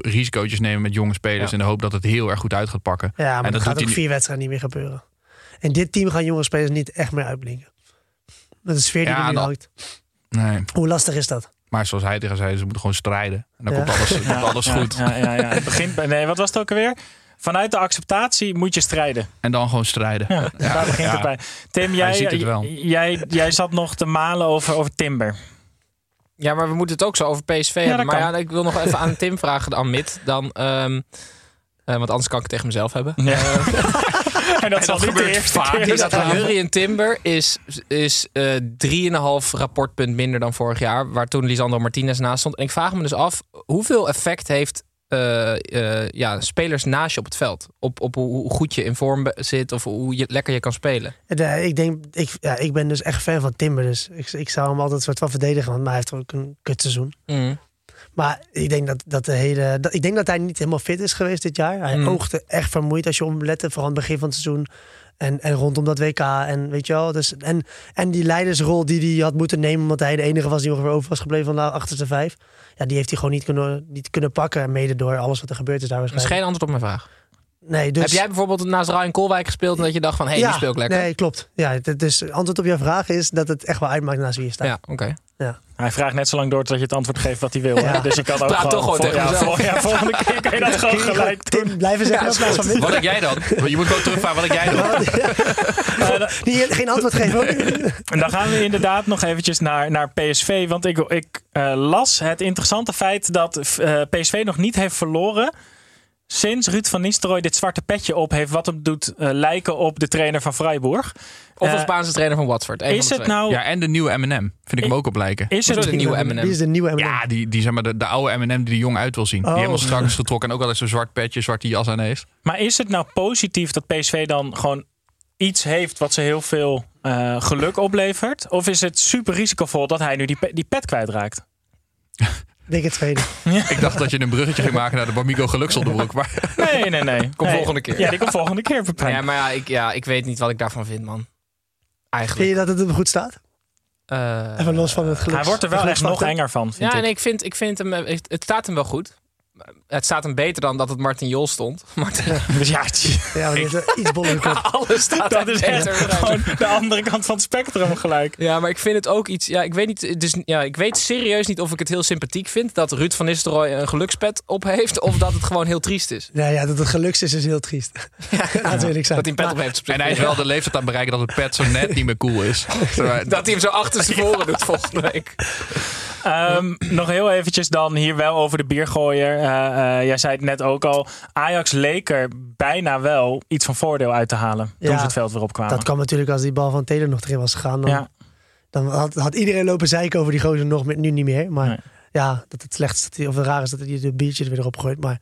H: risicootjes nemen met jonge spelers.
J: Ja.
H: In de hoop dat het heel erg goed uit gaat pakken.
I: Ja, maar
H: en
I: dat,
H: dat
I: gaat
H: doet
I: ook
H: hij
I: vier wedstrijden niet meer gebeuren. En dit team gaan jonge spelers niet echt meer uitblinken. Met de sfeer die
H: Ja,
I: er nu
H: dan-
I: hangt.
H: Nee,
I: Hoe lastig is dat?
H: maar zoals hij tegen zei, ze moeten gewoon strijden. En dan
I: Ja.
H: komt alles, komt alles
D: Ja,
H: goed.
D: Ja, ja, ja. Het begint bij, nee, wat was het ook alweer? Vanuit de acceptatie moet je strijden.
H: En dan gewoon strijden.
D: Ja, daar begint
H: ja.
D: het bij. Tim, jij,
H: ziet het wel.
D: Jij, jij zat nog te malen over, over Timber.
J: Ja, maar we moeten het ook zo over PSV hebben.
D: dat
J: Maar
D: kan.
J: ja, ik wil nog even aan Tim vragen, aan Mid. Dan, ehm, eh, want anders kan ik het tegen mezelf hebben.
D: en dat zal niet de
H: gebeurt
D: eerste
H: vaak.
D: keer
J: Die
D: zijn.
J: staat van Jurien Timber is, is eh 3,5 rapportpunt minder dan vorig jaar. Waar toen Lisandro Martinez naast stond. En ik vraag me dus af, hoeveel effect heeft eh, eh, ja, spelers naast je op het veld? Op, op hoe, hoe goed je in vorm be- zit of hoe je, lekker je kan spelen.
I: En, eh, ik, denk, ik, ja, ik ben dus echt fan van Timber. Dus ik, ik zou hem altijd soort van verdedigen. Want maar hij heeft ook een kutseizoen. Maar ik denk dat, dat de hele. dat- ik denk dat hij niet helemaal fit is geweest dit jaar. Hij
J: Mm.
I: oogde echt vermoeid als je om lette, vooral aan het begin van het seizoen. En, en rondom dat WK. En weet je wel. Dus, en, en die leidersrol die hij had moeten nemen, want hij de enige was die ongeveer over was gebleven van de achterste vijf. Ja, die heeft hij gewoon niet kunnen, niet kunnen pakken. En mede door alles wat er gebeurd is daar
J: Dat is
I: waarschijnlijk.
J: geen antwoord op mijn vraag.
I: Nee, dus,
J: Heb jij bijvoorbeeld naast Ryan Koolwijk gespeeld en dat je dacht van... hé, hey,
I: ja,
J: die speelt lekker?
I: Nee, klopt. Ja, het- dus antwoord op jouw vraag is dat het echt wel uitmaakt naast wie je staat.
J: Ja, oké.
D: Hij vraagt net zo lang door totdat je het antwoord geeft wat hij wil. hè?
I: Ja.
D: Dus je kan ook
J: Praat
D: gewoon...
J: toch gewoon
D: vol-
J: tegen
D: ja,
J: mezelf.
D: vol- ja, volgende keer kun je dat gewoon gelijk doen.
I: Tim, blijven zeggen dat is van
H: Wat heb jij dan? Je moet gewoon terugvragen, wat heb jij dan?
I: Niet- Geen antwoord geven. ook.
D: En dan gaan we inderdaad nog eventjes naar, naar PSV. Want ik, ik eh, las het interessante feit dat eh, PSV nog niet heeft verloren... sinds Ruud van Nistelrooy dit zwarte petje op heeft... wat hem doet eh, lijken op de trainer van Freiburg.
J: Of
D: Eh,
J: als Spaanse trainer van Watford. één
D: Is
J: van de
D: het
J: twee.
D: nou...
H: Ja, en de nieuwe M&M vind ik hem ook op lijken.
D: Is het
J: Hoezo de nieuwe
I: Die
J: Eminem?
I: is de nieuwe M&M.
H: Ja, die, die zeg maar de, de oude M&M die er jong uit wil zien. Die
I: Oh.
H: helemaal strak is getrokken en ook altijd zo'n zwart petje, zwarte jas aan heeft.
D: Maar is het nou positief dat PSV dan gewoon iets heeft wat ze heel veel eh, geluk oplevert? Of is het super risicovol dat hij nu die, pe- die pet kwijtraakt?
I: Ik Denk het tweede.
H: Ik dacht dat je een bruggetje ging maken naar de Bamigo geluksonderbroek. Maar
D: Nee, nee, nee.
J: Komt
D: Nee.
J: volgende keer.
D: Ja, die komt volgende keer. Pepijn.
J: Ja, maar ja ik, ja, ik weet niet wat ik daarvan vind, man.
I: Vind
J: Eigenlijk.
I: je dat het hem goed staat?
J: Eh,
I: Even los van het geluk.
D: hij wordt er wel
I: het
D: echt nog
I: geluksfactor.
D: enger van, vind
J: Ja,
D: ik.
J: en ik vind, ik vind hem, eh, het het staat hem wel goed. Het staat hem beter dan dat het Martin Jol stond. Martin,
D: Dus ja, tjie,
I: Ja, maar die heeft wel iets boller kop.
J: alles staat
D: dat
J: hem
D: is echt
J: beter.
D: gewoon de andere kant van het spectrum gelijk.
J: Ja, maar ik vind het ook iets. Ja, ik weet niet. Dus ja, ik weet serieus niet of ik het heel sympathiek vind dat Ruud van Nistelrooy een gelukspet op heeft, of dat het gewoon heel triest is.
I: Ja, ja, dat het geluks is, is heel triest. Natuurlijk zijn.
J: Dat hij een pet op heeft. op zich.
H: en hij is wel de leeftijd aan het bereiken dat het pet zo net niet meer cool is. Terwijl-
J: Dat hij hem zo achterstevoren doet volgende week.
D: Ehm, nog heel eventjes dan hier wel over de biergooier. Eh, eh, jij zei het net ook al. Ajax leek er bijna wel iets van voordeel uit te halen. Toen
I: Ja,
D: ze het veld weer opkwamen.
I: Dat kwam natuurlijk als die bal van Taylor nog erin was gegaan. Dan,
D: Ja.
I: dan had, had iedereen lopen zeiken over die gozer nog, met, nu niet meer. Maar ja, dat het slecht is, dat hij- of het raar is dat hij de biertje er weer op gooit. Maar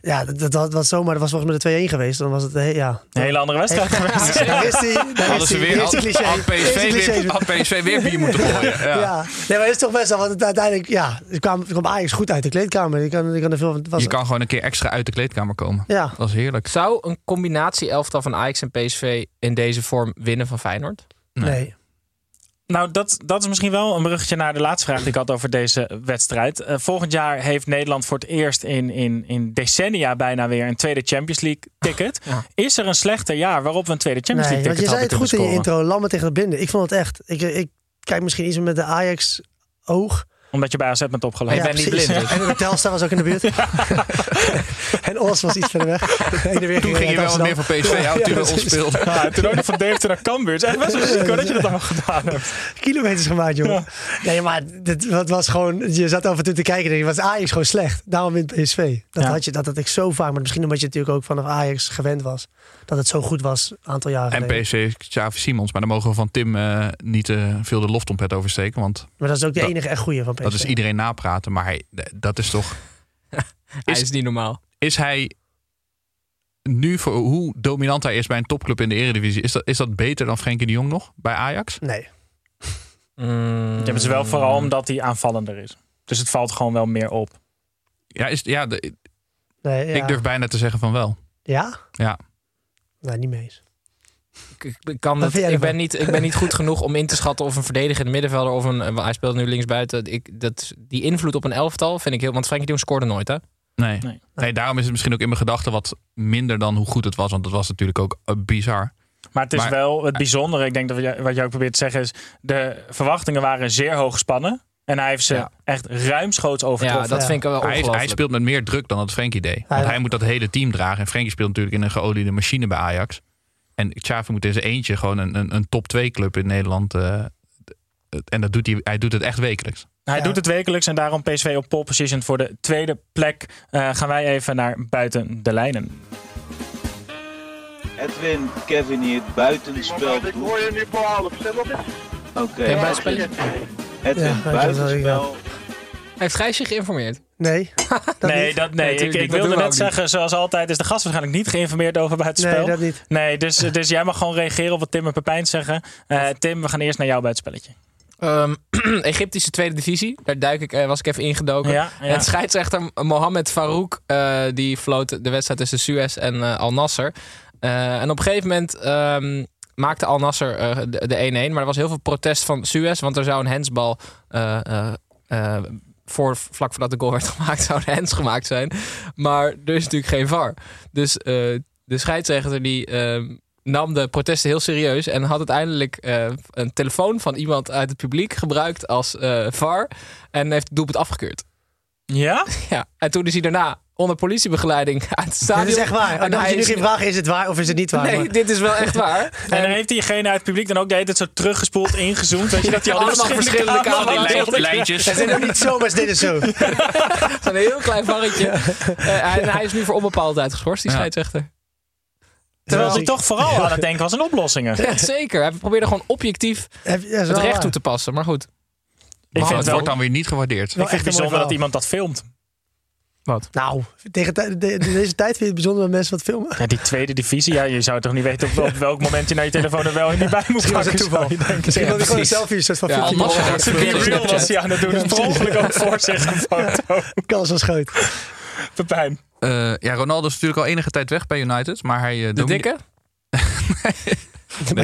I: ja, dat, dat, dat was zomaar, dat was volgens mij de 2-1 geweest. Dan was het, eh, ja.
D: Een hele andere wedstrijd geweest.
I: Daar is hij. Daar
H: Hadden
I: is
H: ze
I: hij.
H: weer,
I: Eerste
H: had,
I: cliché.
H: had
I: Eerste
H: PSV
I: cliché.
H: weer, had PSV weer bier moeten gooien. Ja.
I: Ja. nee, maar het is toch best wel, want het uiteindelijk, ja, het kwam, het kwam Ajax goed uit de kleedkamer. Je kan, je kan er veel van, het was,
H: Je kan gewoon een keer extra uit de kleedkamer komen.
I: Ja.
H: Dat is heerlijk.
J: Zou een combinatie elftal van Ajax en PSV in deze vorm winnen van Feyenoord?
I: nee.
D: Nou, dat, dat is misschien wel een bruggetje naar de laatste vraag die ik had over deze wedstrijd. Eh, volgend jaar heeft Nederland voor het eerst in, in, in decennia bijna weer een tweede Champions League ticket. Is er een slechter jaar waarop we een tweede Champions
I: nee,
D: League
I: want je
D: ticket
I: zei
D: hadden
I: het
D: kunnen
I: goed in je
D: scoren?
I: intro. Lammen tegen de binden. Ik vond het echt. Ik, ik kijk misschien iets meer met de Ajax oog.
D: Omdat je bij AZ bent opgeleid.
I: Ja, precies.
H: dus.
I: En de Telstar was ook in de buurt. en Os was iets verder weg. Heen en weer
H: Toen ging je wel wat meer voor PSV houden toen we ons
I: precies.
H: speelden.
D: Ja, toen ook nog van Deventer naar Cambuur. Het is echt best wel risico dat je dat allemaal gedaan hebt.
I: kilometers gemaakt, jongen. Nee, maar dit, wat was gewoon, je zat af en toe te kijken en je was Ajax gewoon slecht. Daarom wint PSV. Dat
D: Ja.
I: had je, dat had ik zo vaak. Maar misschien omdat je natuurlijk ook vanaf Ajax gewend was. Dat het zo goed was een aantal jaren
H: En
I: geleden.
H: PSV is Xavi Simons. Maar daar mogen we van Tim eh, niet eh, veel de loftompet over steken. Want
I: Maar dat is ook de
H: dat-
I: enige echt goede van PSV.
H: dat is iedereen napraten. Maar hij, dat is toch...
J: Hij is niet normaal.
H: Is hij nu, voor hoe dominant hij is bij een topclub in de eredivisie... is dat, is dat beter dan Frenkie de Jong nog bij Ajax?
I: Nee.
D: Dat hebben ze wel vooral omdat hij aanvallender is. Dus het valt gewoon wel meer op.
H: Ja, is, ja de-
I: nee ja.
H: ik durf bijna te zeggen van wel.
I: Ja?
H: Ja.
I: Nou, niet mee eens.
J: Ik, ik- ik kan
I: Wat
J: het,
I: vind jij
J: ik, ben
I: ervan?
J: niet, ik ben niet goed genoeg om in te schatten of een verdediger, een middenvelder of een. eh, Hij speelt nu linksbuiten. Ik, dat, die invloed op een elftal vind ik heel. Want Frenkie de Jong scoorde nooit, hè?
H: Nee.
D: Nee.
H: Nee. daarom is het misschien ook in mijn gedachten wat minder dan hoe goed het was. Want dat was natuurlijk ook eh, bizar.
D: Maar het is
H: Maar-
D: wel het bijzondere. Ik denk dat wat jij- wat jij ook probeert te zeggen is... de verwachtingen waren zeer hoog gespannen. En hij heeft ze
J: Ja.
D: echt ruimschoots overtroffen.
J: Ja, dat
I: ja.
J: vind ik wel
H: Hij,
J: ongelooflijk.
H: hij speelt met meer druk dan dat Frenkie deed. Want
I: ja.
H: hij moet dat hele team dragen. En Frenkie speelt natuurlijk in een geoliede machine bij Ajax. En Xavi moet in zijn eentje gewoon een, een, een top 2 club in Nederland. eh, en dat doet hij, hij doet het echt wekelijks.
D: Hij
I: Ja.
D: doet het wekelijks en daarom PSV op pole position voor de tweede plek. Eh, gaan wij even naar buiten de lijnen.
K: Edwin, Kevin hier, het buitenspel. Ik hoor je nu voor half. Oké,
J: Nee, buitenspel.
K: Edwin,
I: Ja,
K: buitenspel.
J: Heeft Gijs je geïnformeerd?
I: Nee. Dat
D: nee,
I: niet.
D: dat, nee,
J: Nee,
D: ik,
J: tuurlijk
D: ik
J: niet. Dat
D: wilde
J: doen we
D: net
J: ook niet.
D: zeggen, zoals altijd is de gast waarschijnlijk niet geïnformeerd over buitenspel.
I: Nee, dat niet.
D: Nee, dus, dus jij mag gewoon reageren op wat Tim en Pepijn zeggen. Eh, Tim, we gaan eerst naar jou bij het spelletje.
J: Ehm, Egyptische tweede divisie. Daar duik ik, eh, was ik even ingedoken.
D: Ja, ja.
J: En Het scheidsrechter Mohamed Farouk eh, die floot de wedstrijd tussen Suez en eh, Al Nasser. Eh, en op een gegeven moment ehm, maakte Al Nasser eh, de de 1-1. Maar er was heel veel protest van Suez, want er zou een handsbal eh, eh, eh, voor, vlak voordat de goal werd gemaakt, zou de hands gemaakt zijn. Maar er is natuurlijk geen VAR. Dus eh, de scheidsrechter die ehm, nam de protesten heel serieus en had uiteindelijk eh, een telefoon van iemand uit het publiek gebruikt als eh, VAR en heeft het doelpunt afgekeurd.
D: Ja?
J: Ja, en toen is hij daarna onder politiebegeleiding uit het stadion.
I: Dit is echt waar. En dan moet
J: hij
I: je nu
J: is-
I: geen vraag, is het waar of is het niet waar?
J: Nee,
I: maar-
J: dit is wel echt waar.
D: En dan heeft diegene uit het publiek dan ook de hele tijd zo teruggespoeld, ingezoomd. Weet je dat hij al die
J: Allemaal verschillende
H: Die
J: camera's.
D: camera's
H: lijn-
D: had.
H: lijntjes.
I: Het zijn ook niet zomaar, ze deden zo.
J: Een heel klein varretje. Eh, en hij is nu voor onbepaald uitgeschorst, die
H: Ja.
J: scheidsrechter.
D: Terwijl hij
I: Ja.
D: toch vooral aan het denken was aan oplossingen.
J: Ja, zeker. Hij probeerde gewoon objectief
I: Heb- ja,
J: het
I: is wel
J: recht
I: waar.
J: toe te passen. Maar goed.
D: Ik vind
H: Maar het
D: het wel
H: wordt dan weer niet gewaardeerd.
I: Wel
D: ik vind het
I: echt een mooi
D: bijzonder dat
I: verhaal.
D: iemand dat filmt.
I: Nou, tegen tij- de- de- deze tijd vind je het bijzonder dat mensen wat filmen.
D: Ja, die tweede divisie, ja, je zou toch niet weten op, op welk moment je naar je telefoon er wel en niet bij moet
I: Misschien was het
D: pakken, zou je denken.
I: Misschien
J: Ja,
I: wilde ik gewoon
J: precies.
I: een selfie, een soort van
J: Ja,
I: filmpje.
J: Al Nasser
H: Ja,
J: wordt
H: dat is
J: gefilmd op
D: In real was
J: Snapchat.
D: hij aan het doen, dus per ongeluk ook voor zich een foto.
I: kans was groot.
D: Pepijn.
H: Eh, ja, Ronaldo is natuurlijk al enige tijd weg bij United. Maar hij, eh,
J: De
H: domine-
J: dikke?
I: Bij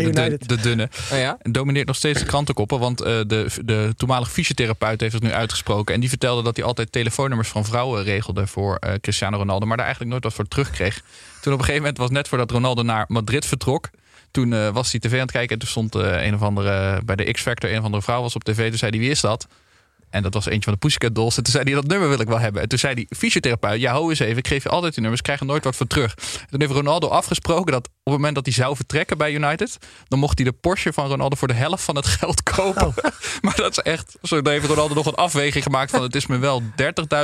H: Nee, de,
I: United.
H: de, de dunne.
J: Oh, ja.
H: En domineert nog steeds de krantenkoppen. Want eh, de, de toenmalige fysiotherapeut heeft het nu uitgesproken. En die vertelde dat hij altijd telefoonnummers van vrouwen regelde voor eh, Cristiano Ronaldo. Maar daar eigenlijk nooit wat voor terugkreeg. Toen op een gegeven moment was net voordat Ronaldo naar Madrid vertrok. Toen eh, was hij tv aan het kijken en toen stond eh, een of andere bij de X-Factor, een of andere vrouw was op tv. Toen zei hij, wie is dat? En dat was eentje van de Pussycat Dolls. En toen zei hij, dat nummer wil ik wel hebben. En toen zei die fysiotherapeut, ja, hou eens even. Ik geef je altijd die nummers, krijg er nooit wat voor terug. En toen heeft Ronaldo afgesproken dat op het moment dat hij zou vertrekken bij United... dan mocht hij de Porsche van Ronaldo voor de helft van het geld kopen. maar dat is echt... Zo daar heeft Ronaldo nog een afweging gemaakt van... het is me wel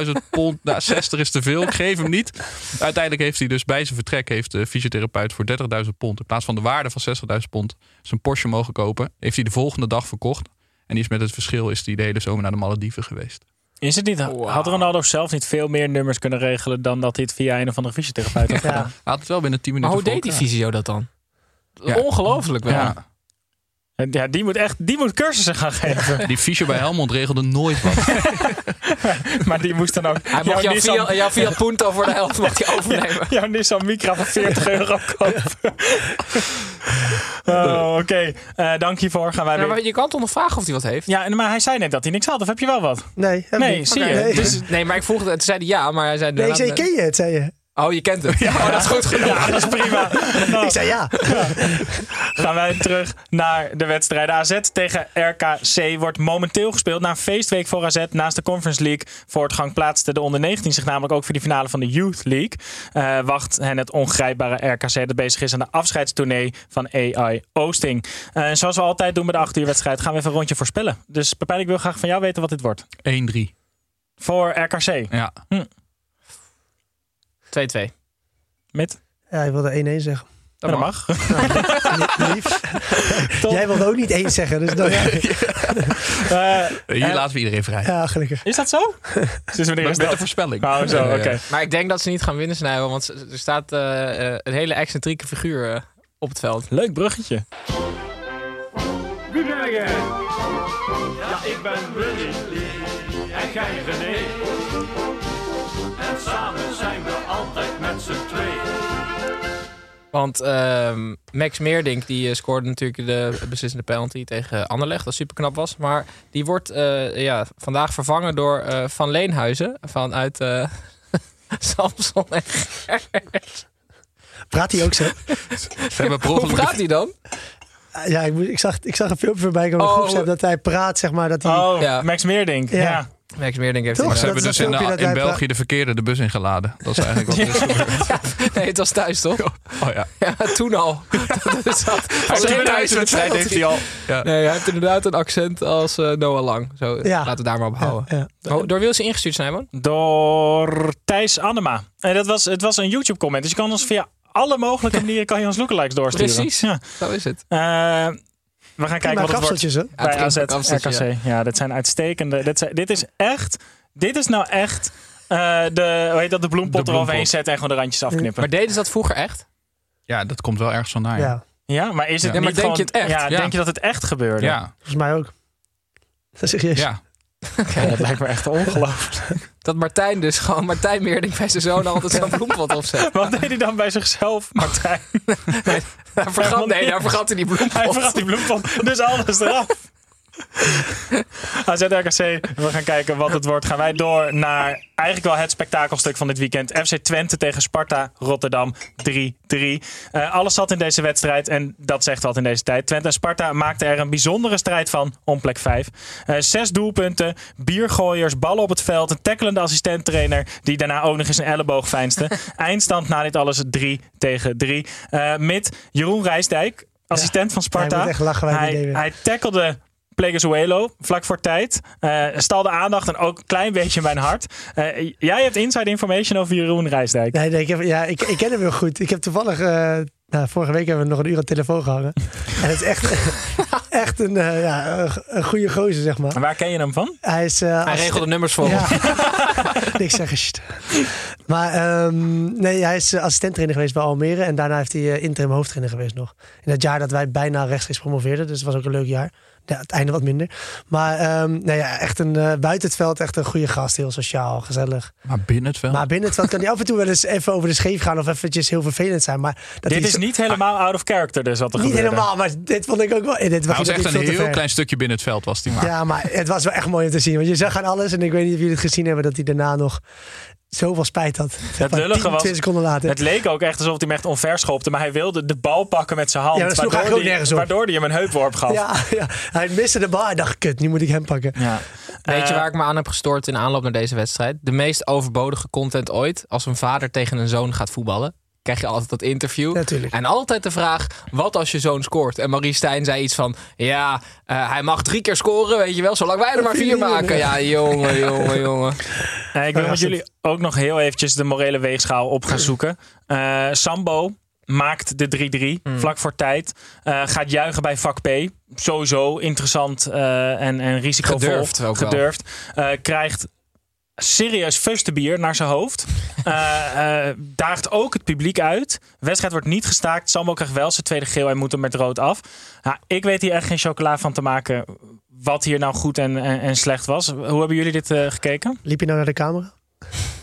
H: 30.000 pond, nou, 60 is te veel, ik geef hem niet. Uiteindelijk heeft hij dus bij zijn vertrek... heeft de fysiotherapeut voor 30.000 pond... in plaats van de waarde van 60.000 pond... zijn Porsche mogen kopen. Heeft hij de volgende dag verkocht. En die is met het verschil is die de hele zomer naar de Malediven geweest.
D: Is het niet? Had Ronaldo zelf niet veel meer nummers kunnen regelen dan dat hij het via een of andere fysiotherapeut had gedaan?
H: Hij had het wel binnen 10 minuten.
D: hoe
H: voor
D: deed die
H: elkaar.
D: fysio
J: dat dan?
H: Ja.
J: Ongelooflijk wel.
H: Ja.
D: En Ja, die moet echt die moet cursussen gaan geven.
H: Die fysio bij Helmond regelde nooit wat.
D: Maar die moest dan ook.
J: Hij mocht jouw Fiat- jouw Fiat Punto voor de helft mag hij overnemen.
D: jouw Nissan Micra van 40 euro kopen. Oh, Oké, Eh, dank hiervoor. Gaan wij
J: Ja,
D: weer.
J: maar je kan toch nog vragen of hij wat heeft?
D: Ja, maar hij zei net dat hij niks had. Of heb je wel wat?
I: Nee, heb
D: Nee,
I: niet.
D: zie je.
I: Nee.
D: Dus-
J: Nee, maar ik vroeg het. Toen zei hij ja, maar hij zei...
I: Nee, ik zei, ken je het, zei je.
J: Oh, je kent hem. Oh, dat is goed genoeg.
D: Ja, dat is prima. Nou,
I: Ik zei ja.
D: gaan wij terug naar de wedstrijd. AZ tegen RKC wordt momenteel gespeeld na een feestweek voor AZ. Naast de Conference League voortgang plaatste de onder 19 zich namelijk ook voor de finale van de Youth League. Eh, wacht hen het ongrijpbare RKC dat bezig is aan de afscheidstournee van AI Oosting. Eh, zoals we altijd doen bij de 8 uur wedstrijd gaan we even een rondje voorspellen. Dus Pepijn, ik wil graag van jou weten wat dit wordt.
H: 1-3.
D: Voor RKC.
H: Ja.
D: Hm.
J: 2-2.
D: Met?
I: Ja, ik wilde 1-1 zeggen.
D: Dat, mag. Top.
I: Jij wilde ook niet 1 zeggen, dus dan... Ja,
D: Eh,
H: Hier
D: en-
H: laten we iedereen vrij.
I: ja, gelukkig.
D: is dat zo? Sinds wanneer is
H: Met de
D: dat?
H: voorspelling.
D: Nou,
I: Oh,
D: zo, oké.
J: Maar ik denk dat ze niet gaan winnen, Snijbo. Want ze- er staat eh, eh, een hele excentrieke figuur eh, op het veld.
D: Leuk bruggetje.
E: Ja, ik ben Willy en jij René. En samen zijn we altijd met z'n tweeën.
J: Want ehm, Max Meerdink die eh, scoorde natuurlijk de beslissende penalty tegen Anderlecht. Dat super knap was. Maar die wordt eh, ja, vandaag vervangen door eh, Van Leenhuizen. Vanuit eh Samson en Gers.
I: Praat hij ook zo?
H: Ze hebben per
J: Hoe
H: ongeluk-
J: praat hij dan?
I: Ja, ik, moest- ik, zag, ik zag een filmpje voorbij komen in
J: Oh.
I: de groepsapp dat hij praat, zeg maar, dat hij...
D: Oh,
J: Ja.
D: Max Meerdink.
I: Ja.
D: ja.
J: Max Meerdink heeft
I: Toch?
J: die-
H: Ze hebben
I: dat
H: dus in,
I: filmpje
H: de-
I: dat
J: eh,
H: in
I: hij-
H: België de verkeerde de bus ingeladen. Dat is eigenlijk wat er is gebeurd.
J: Nee, het was thuis toch?
H: Oh ja.
J: Ja, toen al. Dat is dat. Van
H: Zijn
J: Leenhuizen met
H: thuiswedstrijd heeft hij al. Ja.
J: Nee, hij heeft inderdaad een accent als eh, Noah Lang. Zo,
I: Ja.
J: laten we daar maar op houden.
I: Ja.
J: Oh, door wie is hij ingestuurd, Snijman?
D: Door Thijs Annema. En dat was, het was een YouTube comment. Dus je kan ons via alle mogelijke manieren kan je ons lookalikes doorsturen.
J: Precies.
D: Ja.
J: Zo is het.
D: Eh, we gaan kijken wat
I: Prima
D: het wordt
I: kapseltjes, hè?
J: Ja,
D: bij
J: prima
D: AZ
J: kapseltje,
D: RKC. Ja. dit zijn uitstekende. Dit, zijn- dit is echt... Dit is nou echt... eh, de, hoe heet dat? De bloempot
H: De
D: eroverheen
H: bloempot.
D: zetten en gewoon de randjes afknippen.
J: Maar deden ze dat vroeger echt?
H: ja, dat komt wel ergens vandaan. Ja.
I: Ja,
D: ja, maar is het
J: Ja, maar
D: niet
J: denk
D: gewoon...
J: je het echt?
D: Ja,
H: Ja.
D: denk je dat het echt gebeurde?
H: Ja.
I: volgens mij ook. Dat is serieus.
H: ja.
D: Ja, dat lijkt me echt ongelooflijk.
J: Dat Martijn dus gewoon, Martijn Meerdink bij zijn zoon altijd zo'n bloempot opzet.
D: Wat deed hij dan bij zichzelf, Martijn?
J: Daar vergat, nee, daar vergat hij die
D: Hij vergat
J: bloempot.
D: die bloempot, dus alles eraf. AZ-RKC, we gaan kijken wat het wordt. Gaan wij door naar eigenlijk wel het spektakelstuk van dit weekend. FC Twente tegen Sparta Rotterdam 3-3. Eh, alles zat in deze wedstrijd en dat zegt wat in deze tijd. Twente en Sparta maakten er een bijzondere strijd van om plek 5. zes doelpunten, biergooiers, ballen op het veld, een tackelende assistent-trainer die daarna ook nog eens een elleboog feinste. Eindstand na dit alles 3 tegen 3. Eh met Jeroen Rijsdijk, assistent van Sparta.
I: Hij moet echt lachen, wij
D: hij,
I: die idee weer.
D: hij tackelde Plegezuelo vlak voor tijd. Eh stalde aandacht en ook een klein beetje mijn hart. Eh, jij hebt inside information over Jeroen Rijsdijk.
I: Nee, nee ik, heb, ja, ik, ik ken hem heel goed. Ik heb toevallig... eh, nou, vorige week hebben we nog een uur aan de telefoon gehangen. En het is echt, echt een, eh, ja, een- een goede gozer, zeg maar.
D: En Waar ken je hem van?
I: Hij is... eh,
J: Hij
I: als-
J: regelde nummers voor hem.
I: Ja. Niks zeggen. sst. Maar ehm, nee, hij is assistenttrainer geweest bij Almere. En daarna heeft hij eh, interim hoofdtrainer geweest nog. In dat jaar dat wij bijna rechtstreeks promoveerden. Dus het was ook een leuk jaar. Ja, het einde wat minder. Maar ehm, nee, ja, echt een, eh, buiten het veld echt een goede gast. Heel sociaal, gezellig.
H: Maar binnen het wel.
I: Maar binnen het veld kan hij af en toe wel eens even over de scheef gaan. Of eventjes heel vervelend zijn. Maar dat
D: Dit
I: hij
D: is
I: zo-
D: niet helemaal out of character dus wat er
I: niet
D: gebeurde.
I: helemaal, maar dit vond ik ook wel... eh, Dit
H: Hij was
I: ging
H: echt
I: natuurlijk
H: een
I: veel te
H: heel
I: ver.
H: klein stukje binnen het veld was die maar.
I: Ja, maar het was wel echt mooi om te zien. Want je zag aan alles. En ik weet niet of jullie het gezien hebben dat hij daarna nog zoveel spijt had. Zeg maar,
D: lullige
I: 10,
D: was-
I: 20 seconden later.
D: Het leek ook echt alsof hij hem echt onver schopte. Maar hij wilde de bal pakken met zijn hand.
I: Ja, dat sloeg eigenlijk ook
D: hij,
I: nergens op.
D: waardoor hij hem een heupworp gaf.
I: ja, ja, hij miste de bal. Hij dacht, kut, nu moet ik hem pakken.
D: Ja.
J: Weet je waar ik me aan heb gestoord in aanloop naar deze wedstrijd? De meest overbodige content ooit. Als een vader tegen een zoon gaat voetballen, krijg je altijd dat interview. En altijd de vraag: wat als je zoon scoort? En Marie Stijn zei iets van: ja, eh, hij mag drie keer scoren, weet je wel, zolang wij er maar vier maken. Ja, jongen, jongen, jongen.
D: Nee, ik wil met jullie ook nog heel eventjes de morele weegschaal op gaan zoeken. Eh, Sambo maakt de 3-3
J: Hmm.
D: vlak voor tijd. Eh, gaat juichen bij vak P. Sowieso interessant eh, en, en risicovol.
J: Gedurfd ook wel.
D: Gedurfd. Eh, krijgt serieus fustebier naar zijn hoofd. Eh, eh, daagt ook het publiek uit. Wedstrijd wordt niet gestaakt. Sambo krijgt wel zijn tweede geel en moet hem met rood af. Ja, ik weet hier echt geen chocola van te maken. Wat hier nou goed en, en, en slecht was. Hoe hebben jullie dit eh, gekeken?
I: Liep je nou naar de camera?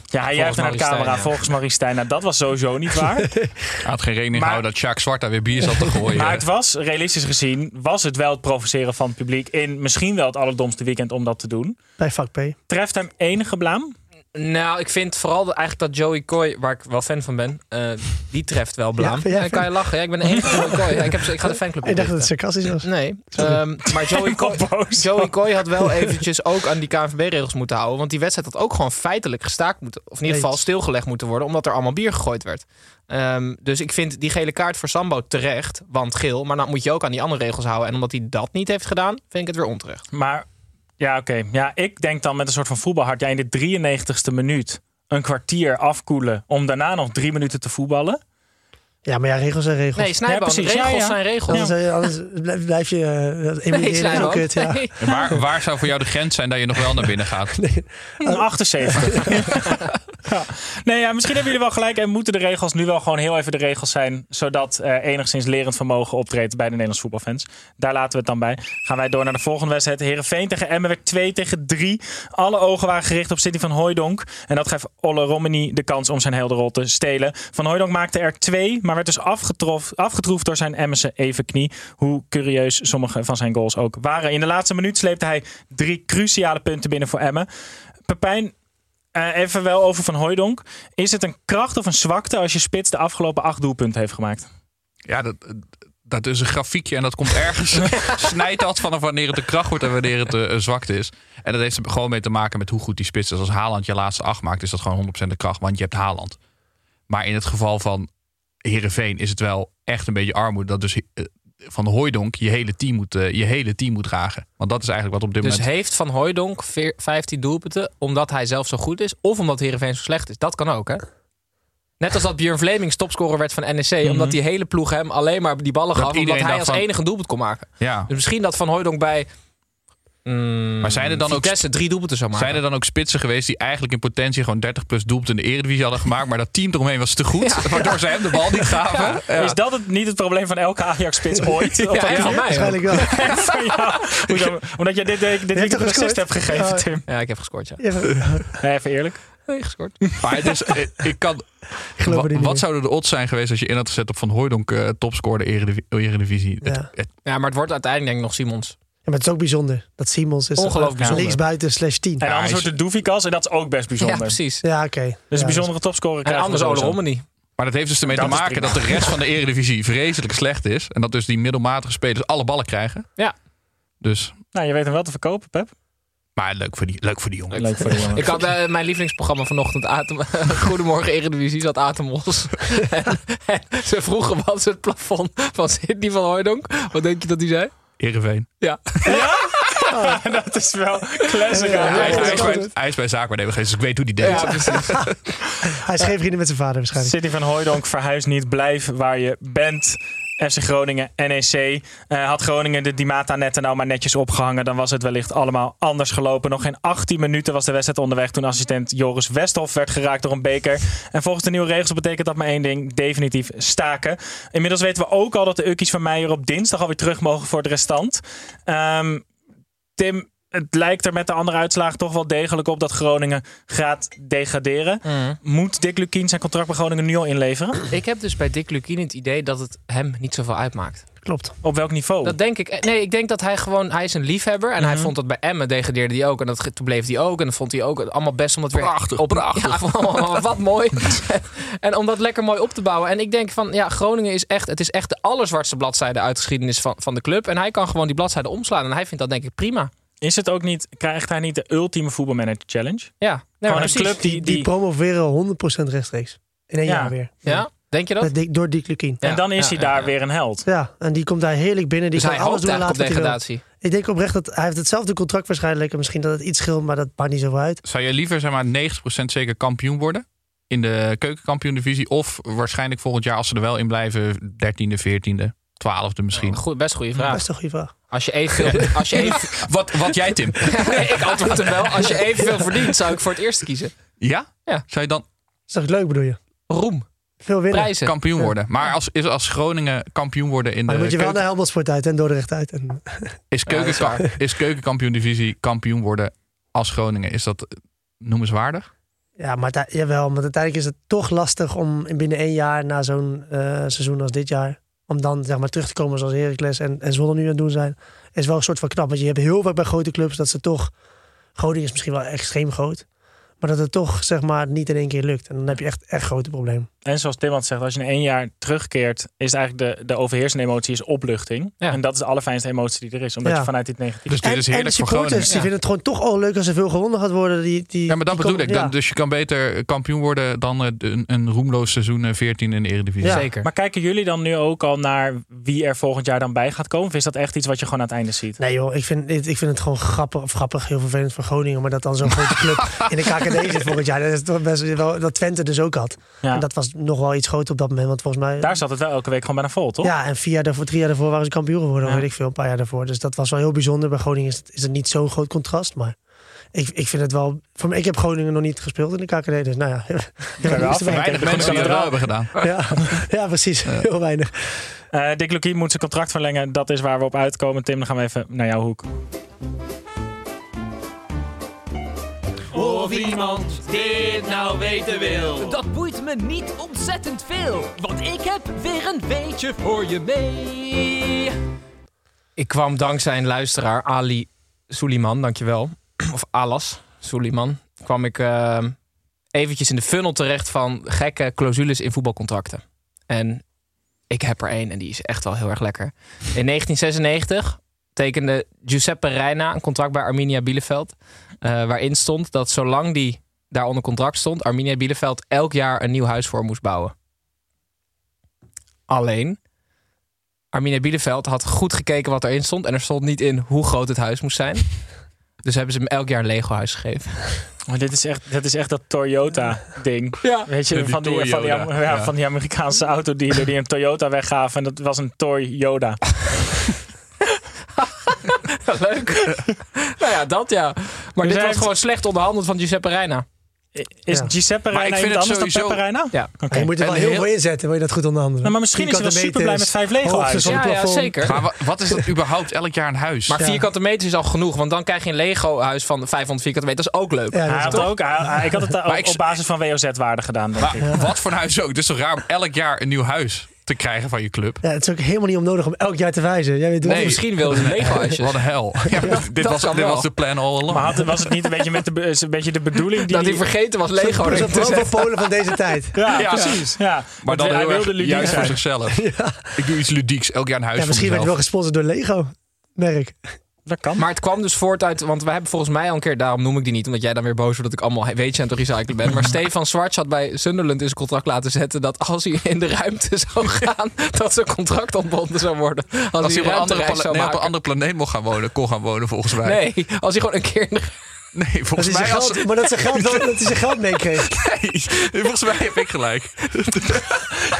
D: Ja, hij juichte naar de
H: Maurice
D: camera
H: Stijn, ja.
D: volgens Marie Stijn. Nou, dat was sowieso niet waar.
H: Hij had geen rekening gehouden dat Jacques Zwart daar weer bier zat te gooien.
D: maar het was, realistisch gezien, was het wel het provoceren van het publiek in misschien wel het allerdomste weekend om dat te doen.
I: Bij vak P.
D: Treft hem enige blaam?
J: Nou, ik vind vooral dat- eigenlijk dat Joey Coy, waar ik wel fan van ben, eh, die treft wel blaam.
I: Ja, ja.
J: Dan kan je lachen. Ja, ik ben de enige Joey Coy. Ja, ik, heb, ik ga de fanclub
I: Ik dacht
J: oprichten.
I: dat het sarcastisch was.
J: Nee. Ehm, maar Joey Coy, Joey Coy had wel eventjes ook aan die KNVB-regels moeten houden. Want die wedstrijd had ook gewoon feitelijk gestaakt moeten. Of in ieder geval
I: Eens.
J: stilgelegd moeten worden. Omdat er allemaal bier gegooid werd. Ehm, dus ik vind die gele kaart voor Sambo terecht. Want geel. Maar dan moet je ook aan die andere regels houden. En omdat hij dat niet heeft gedaan, vind ik het weer onterecht.
D: Maar ja, oké. Ja, ik denk dan met een soort van voetbalhart. Ja, in de 93ste minuut een kwartier afkoelen om daarna nog drie minuten te voetballen.
I: Ja, maar ja, regels zijn regels.
J: Nee, Snijboon, Ja, precies. regels Ja, ja. zijn regels.
I: Anders, eh, anders blijf- blijf je eh emuleren
J: Snijboon.
I: ook kut, ja.
J: Nee.
H: Waar, waar zou voor jou de grens zijn dat je nog wel naar binnen gaat?
D: Een 78. ja. Nee, ja, misschien hebben jullie wel gelijk en moeten de regels nu wel gewoon heel even de regels zijn. Zodat eh, enigszins lerend vermogen optreedt bij de Nederlandse voetbalfans. Daar laten we het dan bij. Gaan wij door naar de volgende wedstrijd. Herenveen tegen Emmen werd 2 tegen 3. Alle ogen waren gericht op City van Hooijdonk. En dat geeft Olle Romani de kans om zijn helderrol te stelen. Van Hooijdonk maakte er twee, maar werd dus afgetrof, afgetroefd door zijn Emmense evenknie. Hoe curieus sommige van zijn goals ook waren. In de laatste minuut sleepte hij drie cruciale punten binnen voor Emmen. Pepijn, eh, even wel over Van Hooijdonk. Is het een kracht of een zwakte als je spits de afgelopen acht doelpunten heeft gemaakt?
H: Ja, dat, dat is een grafiekje en dat komt ergens. snijdt dat vanaf wanneer het een kracht wordt en wanneer het eh, een zwakte is. En dat heeft er gewoon mee te maken met hoe goed die spits is. Als Haaland je laatste acht maakt, is dat gewoon 100% de kracht, want je hebt Haaland. Maar in het geval van Herenveen is het wel echt een beetje armoede. Dat dus eh, van de Hooidonk je hele team moet, eh, je hele team moet dragen. Want dat is eigenlijk wat op dit
J: Dus
H: moment.
J: heeft Van Hooijdonk veer- 15 doelpunten omdat hij zelf zo goed is? Of omdat Heerenveen zo slecht is? Dat kan ook, hè? Net als dat Björn Vlemings topscorer werd van NEC... omdat die hele ploeg hem alleen maar die ballen
H: Mhm. Dat
J: gaf... omdat
H: iedereen
J: hij
H: dacht
J: als
H: van-
J: enige een doelpunt kon maken.
H: Ja.
J: Dus misschien dat Van Hooijdonk bij
H: Maar zijn er dan ook
J: Vitesse drie doelpunten zou maken.
H: Zijn er dan ook spitsen geweest die eigenlijk in potentie gewoon 30 plus doelpunten in de Eredivisie hadden gemaakt, maar dat team eromheen was te goed, waardoor ze hem de bal niet gaven? Ja.
D: Is dat het, niet het probleem van elke Ajax-spits ooit? Of
J: en van mij ook.
I: Waarschijnlijk wel.
D: En van jou. Hoezo? Omdat jij dit, dit, dit weekend een assist hebt gegeven, Tim.
J: Ja, ik heb gescoord, ja.
D: Nee, even eerlijk.
J: Nee, gescoord.
H: Maar het is, eh, ik kan.
I: geloof
H: Wa-
I: er niet
H: wat
I: in.
H: zouden de odds zijn geweest als je in had gezet op Van Hooijdonk eh topscorer Eredivi- Eredivisie? Het-
I: Ja.
H: het-
J: Ja, maar het wordt uiteindelijk denk ik nog Simons.
I: Ja, maar het is ook bijzonder dat Simons is eh,
J: Ongelooflijk bijzonder.
I: linksbuiten slash 10.
D: En anders wordt het Doefikas en dat is ook bijzonder.
J: Ja, precies.
I: Ja, oké.
D: Dus
I: Ja,
D: een bijzondere topscorer
J: En
D: krijgen
J: anders
D: we
J: Ole
D: sowieso.
J: Romani.
H: maar dat heeft dus ermee
D: Dat
H: te
D: is
H: maken
D: prima.
H: dat de rest van de Eredivisie vreselijk slecht is. En dat dus die middelmatige spelers alle ballen krijgen.
J: Ja.
H: Dus,
D: Nou, je weet hem wel te verkopen, Pep.
H: maar leuk voor die, leuk voor die jongen.
D: Leuk voor de jongen.
J: Ik had eh, mijn lievelingsprogramma vanochtend, Atem, Goedemorgen Eredivisie, zat Atemos. en, en ze vroegen wat is het plafond van Sidney van Hooijdonk. Wat denk je dat hij zei?
H: Ereveen.
J: Ja.
D: dat is wel classic.
I: Ja,
D: hè?
H: Hij, is-
I: ja,
H: hij is
I: ja.
H: bij- hij is bij zaakwaarnemer geweest, dus ik weet hoe die deed.
J: Ja, precies.
I: Hij is geen vrienden met zijn vader waarschijnlijk.
D: City van Hooijdonk, verhuis niet, blijf waar je bent. FC Groningen, NEC. Eh, had Groningen de Dimata-netten nou maar netjes opgehangen... dan was het wellicht allemaal anders gelopen. Nog geen 18 minuten was de wedstrijd onderweg... toen assistent Joris Westhoff werd geraakt door een beker. En volgens de nieuwe regels betekent dat maar één ding... definitief staken. Inmiddels weten we ook al dat de Ukkies van Meijer... op dinsdag alweer terug mogen voor het restant. Ehm, Tim, het lijkt er met de andere uitslagen toch wel degelijk op... dat Groningen gaat degraderen. Moet Dick Lukien zijn contract bij Groningen nu al inleveren?
J: Ik heb dus bij Dick Lukien het idee dat het hem niet zoveel uitmaakt.
I: Klopt.
D: Op welk niveau?
J: Dat denk ik. eh, Nee, ik denk dat hij gewoon, hij is een liefhebber. En hij vond dat bij Emmen degradeerde hij ook. En dat, ge- toen bleef hij ook. En dat vond hij ook allemaal best om dat weer...
H: Prachtig, prachtig.
J: Ja, van, wat mooi. en om dat lekker mooi op te bouwen. En ik denk van, ja, Groningen is echt, het is echt de allerzwartste bladzijde uit de geschiedenis van, van de club. En hij kan gewoon die bladzijde omslaan. En hij vindt dat denk ik prima.
D: Is het ook niet, krijgt hij niet de ultieme voetbalmanager challenge?
J: Ja,
D: nee,
J: maar
D: een
J: precies.
D: club die,
I: Die,
D: die,
I: die promoveren 100% rechtstreeks. In één
D: Ja.
I: jaar weer.
J: Ja? Denk je dat?
I: Met Dick- door Dick Lukien.
D: En dan is hij daar weer een held.
I: Ja, en die komt daar heerlijk binnen. Die
J: Dus
I: kan
J: hij
I: alles
J: hoopt
I: doen en
J: eigenlijk
I: laten
J: op
I: wat hij wil.
J: degradatie.
I: Ik denk oprecht dat hij heeft hetzelfde contract waarschijnlijk. En misschien dat het iets scheelt, maar dat maakt niet zoveel uit.
H: Zou jij liever zeg maar 90% zeker kampioen worden? In de keukenkampioen-divisie? Of waarschijnlijk volgend jaar, als ze er wel in blijven, 13e, 14e, 12e misschien?
J: Goed, best goede vraag.
I: Best een goede vraag.
J: Als je evenveel... Als je even,
H: wat, wat jij, Tim?
J: ik antwoord hem wel. Als je evenveel verdient, zou ik voor het eerste kiezen.
H: Ja?
J: Ja.
H: Zou je dan
I: Is dat leuk bedoel je?
J: Roem.
I: Veel winnen.
J: Prijzen.
H: kampioen worden? Maar als, is als Groningen kampioen worden in
I: Maar dan
H: de
I: moet je wel
H: keuken-
I: naar Helmondsport uit en Dordrecht uit. En,
H: Is,
J: Ja, dat is
H: keukenka- is keukenkampioen-divisie kampioen worden als Groningen? Is dat eh, noemenswaardig?
I: ja, maar da- jawel. Maar uiteindelijk is het toch lastig om in binnen één jaar na zo'n eh, seizoen als dit jaar... om dan zeg maar, terug te komen zoals Heracles en, en Zwolle nu aan het doen zijn. Is wel een soort van knap. Want je hebt heel vaak bij grote clubs dat ze toch... Groningen is misschien wel extreem groot. Maar dat het toch zeg maar, niet in één keer lukt. En dan heb je echt, echt grote problemen.
D: En zoals Tim had zegt, als je in één jaar terugkeert, is eigenlijk de, de overheersende emotie is opluchting.
J: Ja.
D: En dat is de allerfijnste emotie die er is, omdat
I: Ja.
D: je vanuit dit negatieve...
H: Dus dit
I: en,
H: is
I: en de
H: heerlijk voor
I: supporters
H: Groningen.
I: die vinden het gewoon toch al leuk als er veel gewonnen gaat worden. Die, die,
H: Ja, maar dat
I: die
H: bedoel
I: komen-
H: ik. Dan,
I: ja.
H: Dus je kan beter kampioen worden dan eh, een, een roemloos seizoen eh, 14 in de Eredivisie.
I: Ja.
J: Zeker.
D: Maar kijken jullie dan nu ook al naar wie er volgend jaar dan bij gaat komen? Of is dat echt iets wat je gewoon aan het einde ziet?
I: Nee joh, ik vind, ik ik vind het gewoon grappig, of grappig, heel vervelend voor Groningen. Maar dat dan zo'n grote club in de KKD zit volgend jaar. Dat is toch best wel dat Twente dus ook had.
D: Ja.
I: En dat was nog wel iets groter op dat moment. Want volgens mij...
D: Daar zat het wel elke week gewoon bijna vol, toch?
I: ja, en vier jaar daarvoor, drie jaar daarvoor waren ze kampioen geworden.
D: Ja.
I: Weet ik veel, een paar jaar daarvoor. Dus dat was wel heel bijzonder. Bij Groningen is het, is het niet zo'n groot contrast. Maar ik, ik vind het wel... Voor mij, ik heb Groningen nog niet gespeeld in de KKD. Dus nou ja.
D: we af-
H: Weinig mensen die dat wel hebben gedaan.
I: ja, ja, precies. Heel weinig.
D: Eh, Dick Lukien moet zijn contract verlengen. Dat is waar we op uitkomen. Tim, dan gaan we even naar jouw hoek.
E: Of iemand dit nou weten wil.
L: Dat boeit me niet ontzettend veel, want ik heb weer een beetje voor je mee.
J: Ik kwam dankzij een luisteraar, Ali Suliman, dankjewel. Of Alas Suliman. Kwam ik eh, eventjes in de funnel terecht van gekke clausules in voetbalcontracten. En ik heb er één en die is echt wel heel erg lekker. In 1996 tekende Giuseppe Reina een contract bij Arminia Bielefeld. eh, waarin stond dat zolang die daar onder contract stond, Arminia Bielefeld elk jaar een nieuw huis voor hem moest bouwen. Alleen, Arminia Bielefeld had goed gekeken wat erin stond. En er stond niet in hoe groot het huis moest zijn. Dus hebben ze hem elk jaar een Lego huis gegeven.
D: Maar Oh, dit is echt, dit is echt dat Toyota-ding.
J: Ja.
D: Weet je,
H: Die
D: van die, van, die, Am-
H: Toyota,
D: ja,
H: ja.
D: van die Amerikaanse autodealer die een Toyota weggaven. En dat was een Toyota.
J: Leuk. nou ja, dat ja. Maar
D: Dus
J: dit
D: hij
J: was
D: heeft-
J: gewoon slecht onderhandeld van Giuseppe Reina.
D: I- Is
I: Ja.
D: Giuseppe
H: Maar
D: Reina
H: ik vind
D: iemand
H: het
D: anders dan Peppe
H: sowieso-
D: Reina?
J: Ja.
D: Oké.
I: Je moet er wel
H: En
I: heel
H: heel-
I: veel inzetten. Wil je dat goed onderhandelen?
D: Nou, maar misschien is hij wel
I: Vierkante
D: superblij
I: meters,
D: met vijf Lego
I: hoogte
D: huizen.
I: van het
J: Dus Ja, ja,
I: plafond.
J: zeker.
H: Maar wa- wat is dat überhaupt elk jaar een huis?
J: Maar vierkante meter is al genoeg. Want dan krijg je een Lego huis van 500 vierkante meter. Dat is ook leuk.
I: Ja, dat
D: Hij
I: is
D: had ook, hij- hij- ik had het eh,
H: Maar
D: op,
H: ik-
D: op basis van WOZ-waarde gedaan, denk ik.
H: Maar wat voor een huis ook. Het is toch raar om elk jaar een nieuw huis te krijgen van je club?
I: Ja, het is ook helemaal niet onnodig om elk jaar te wijzen. Jij weet
J: Of
I: wel-
J: misschien wilde ze een Lego huisje.
H: Wat een hel. Ja, dit
J: dat
H: was,
J: kan
H: dit
J: wel.
H: was de plan all along.
D: Maar had, was het niet een beetje, met de, be- is een beetje de bedoeling die...
J: Dat hij
D: die-
J: vergeten was Lego
I: Plus
J: erin
I: een
J: te zetten.
I: Polen van deze tijd.
D: ja,
H: Ja.
D: precies. Ja.
H: maar
D: Want
H: dan
D: hij
H: heel erg
D: wilde ludiek
H: juist voor
D: zijn.
H: zichzelf. Ik doe iets ludieks. Elk jaar een huis
I: Ja,
H: voor
I: misschien werd het wel
H: mezelf.
I: gesponsord door Lego. Merk.
D: Dat kan.
J: Maar het kwam dus voort uit, want we hebben volgens mij al een keer, daarom noem ik die niet, omdat jij dan weer boos wordt dat ik allemaal he- weet je aan het recyclen ben. Maar Stefan Zwarts had bij Sunderland in zijn contract laten zetten dat als hij in de ruimte zou gaan, dat zijn contract ontbonden zou worden. Als,
H: Als
J: hij
H: hij op een,
J: ruimte
H: andere
J: reis
H: pla-
J: zou
H: nee, op een
J: maken.
H: andere planeet mocht gaan wonen, kon gaan wonen volgens mij.
J: Nee, als hij gewoon een keer in de-
H: Nee,
I: Dat
H: volgens
I: is zijn
H: mij als...
I: geld, maar dat zijn geld, wel- dat hij zijn geld meekreeg.
H: Nee, volgens mij heb ik gelijk.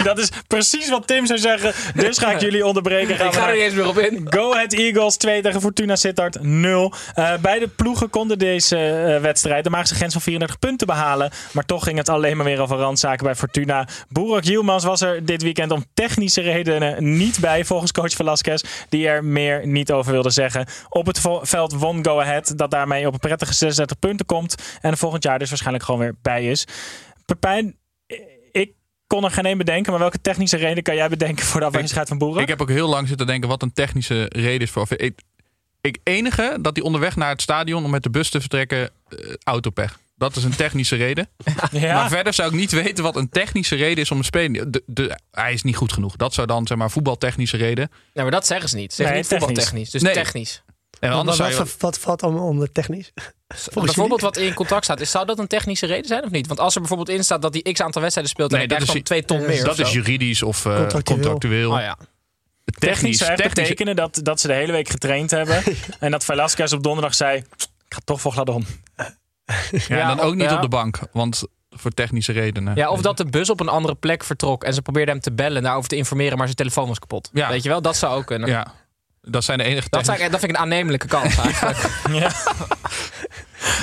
D: Dat is precies wat Tim zou zeggen. Dus ga ik jullie onderbreken. Gaan
J: Ik
D: we
J: ga er
D: naar-
J: niet eens meer op in.
D: Go Ahead Eagles 2 tegen Fortuna Sittard 0. Eh beide ploegen konden deze eh, wedstrijd de magische grens van 34 punten behalen. Maar toch ging het alleen maar weer over randzaken bij Fortuna. Boerak Hielmans was er dit weekend om technische redenen niet bij, volgens coach Velasquez. Die er meer niet over wilde zeggen. Op het vo- veld won Go Ahead, dat daarmee op een prettige 36 punten komt. En volgend jaar dus waarschijnlijk gewoon weer bij is. Pepijn, eh, ik kon er geen één bedenken. Maar welke technische reden kan jij bedenken voor de afwezigheid van Boerak?
H: Ik heb ook heel lang zitten denken wat een technische reden is voor... Ik, ik enige dat hij onderweg naar het stadion om met de bus te vertrekken, eh, autopech. Dat is een technische reden.
D: ja.
H: Maar verder zou ik niet weten wat een technische reden is om een speler... De, de, hij is niet goed genoeg. Dat zou dan, zeg maar, voetbaltechnische reden.
J: Nou, maar dat zeggen ze niet. Ze zeggen
D: Nee,
J: niet voetbaltechnisch, dus
H: Nee.
J: technisch.
I: Maar
B: anders
I: wat,
B: zou je-
I: wat, wat valt om, om de technisch? Volgens
J: bijvoorbeeld wat in contract staat. Is, zou dat een technische reden zijn of niet? Want als er bijvoorbeeld in staat dat hij x aantal wedstrijden speelt... en
B: Nee,
J: hij
B: dat is,
J: krijgt dan twee ton meer
B: dat
J: of zo.
B: is juridisch of eh,
J: Contractueel.
B: contractueel.
J: Oh ja.
D: Technisch
B: Technisch,
D: zou echt
B: technisch.
D: betekenen dat, dat ze de hele week getraind hebben. en dat Velasquez op donderdag zei... Ik ga toch voor Gladon.
B: Ja, en
J: Ja,
B: dan ook niet
J: ja.
B: op de bank, want voor technische redenen.
J: Ja, of dat de bus op een andere plek vertrok en ze probeerden hem te bellen, daarover te informeren, maar zijn telefoon was kapot.
B: Ja.
J: Weet je wel, dat zou ook kunnen.
B: Ja, dat zijn de enige
J: Dat,
B: technische-
J: zou ik- dat vind ik een aannemelijke kans eigenlijk.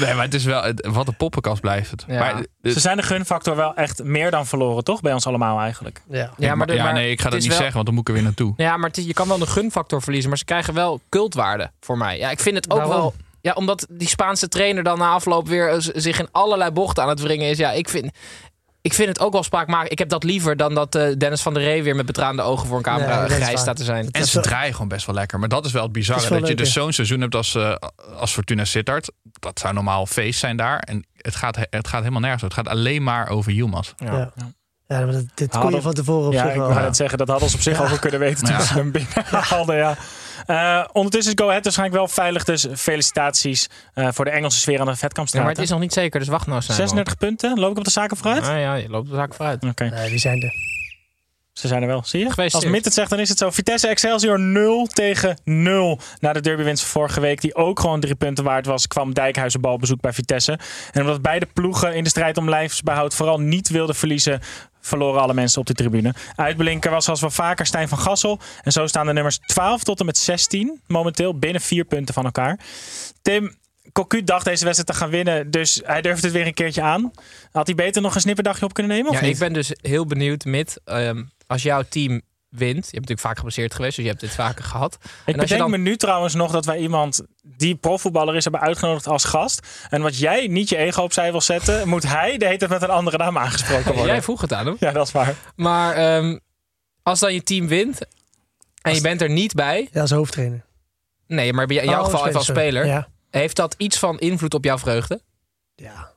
B: Nee, maar het is wel... het- Wat een poppenkast blijft het. Maar, eh,
D: ze zijn de gunfactor wel echt meer dan verloren, toch? Bij ons allemaal eigenlijk.
I: Ja,
B: Ja, maar,
J: de-
B: ja,
J: maar
B: nee, ik ga
J: het
B: dat
J: is
B: niet
J: wel-
B: zeggen, want dan moet ik er weer naartoe.
J: Ja, maar het is- je kan wel een gunfactor verliezen, maar ze krijgen wel cultwaarde voor mij. Ja, ik vind het ook
I: Waarom?
J: wel... Ja, omdat die Spaanse trainer dan na afloop weer eh, z- zich in allerlei bochten aan het wringen is. Ja, ik vind, ik vind het ook wel spraakmakend. Ik heb dat liever dan dat eh, Dennis van der Ree weer met betraande ogen voor een
I: Nee,
J: camera
I: dat is waar.
J: grijs staat te zijn.
B: En ze draaien gewoon best wel lekker. Maar dat is wel het bizarre.
I: Het is
B: Dat
I: wel
B: je
I: leuk,
B: dus
I: ja.
B: zo'n seizoen hebt als, eh, als Fortuna Sittard. Dat zou normaal feest zijn daar. En het gaat, he- het gaat helemaal nergens over. Het gaat alleen maar over Yilmaz.
I: Ja. Ja. maar dat- dit kon je
D: Hadden-
I: van tevoren op
D: ja,
I: zich
D: ik
I: wel.
D: wou net zeggen, dat hadden ze op zich al wel kunnen weten toen
B: Ja.
D: ze hem binnenhaalden. Ja. Eh, ondertussen is Go Ahead waarschijnlijk wel veilig, dus felicitaties eh, voor de Engelse sfeer aan de
J: Ja,
D: Vetkampstraat.
J: maar het is nog niet zeker, dus wacht nou snel.
D: 36 punten, loop ik op de zaken vooruit?
J: Ah, ja, je loopt de zaak vooruit.
D: Oké,
I: Nee, die zijn er.
D: ze zijn er wel. Zie je?
J: Gefeliciteerd.
D: Als Mitt het zegt, dan is het zo. Vitesse Excelsior 0 tegen 0. Na de derbywinst van vorige week, die ook gewoon drie punten waard was, kwam Dijkhuizen balbezoek bij Vitesse. En omdat beide ploegen in de strijd om lijfsbehoud vooral niet wilden verliezen, verloren alle mensen op de tribune. Uitblinker was zoals wel vaker Stijn van Gassel. En zo staan de nummers 12 tot en met 16 momenteel binnen vier punten van elkaar. Tim, Cocu dacht deze wedstrijd te gaan winnen, dus hij durfde het weer een keertje aan. Had hij beter nog een snipperdagje op kunnen nemen? Of
J: Ja,
D: niet?
J: ik ben dus heel benieuwd, Mid. ehm, als jouw team wint, je hebt natuurlijk vaak geblesseerd geweest, dus je hebt dit vaker gehad.
D: Ik
J: en als je
D: bedenk
J: dan
D: me nu trouwens nog dat wij iemand die profvoetballer is hebben uitgenodigd als gast. En wat jij niet je ego opzij wil zetten, moet hij de hele tijd met een andere naam aangesproken worden.
J: Jij vroeg het aan hem.
D: Ja, dat is waar.
J: Maar ehm, als dan je team wint en je bent er niet bij,
I: Ja, als hoofdtrainer.
J: nee, maar in jouw
I: Oh,
J: geval even als
I: sorry.
J: speler,
I: Ja.
J: heeft dat iets van invloed op jouw vreugde?
I: ja.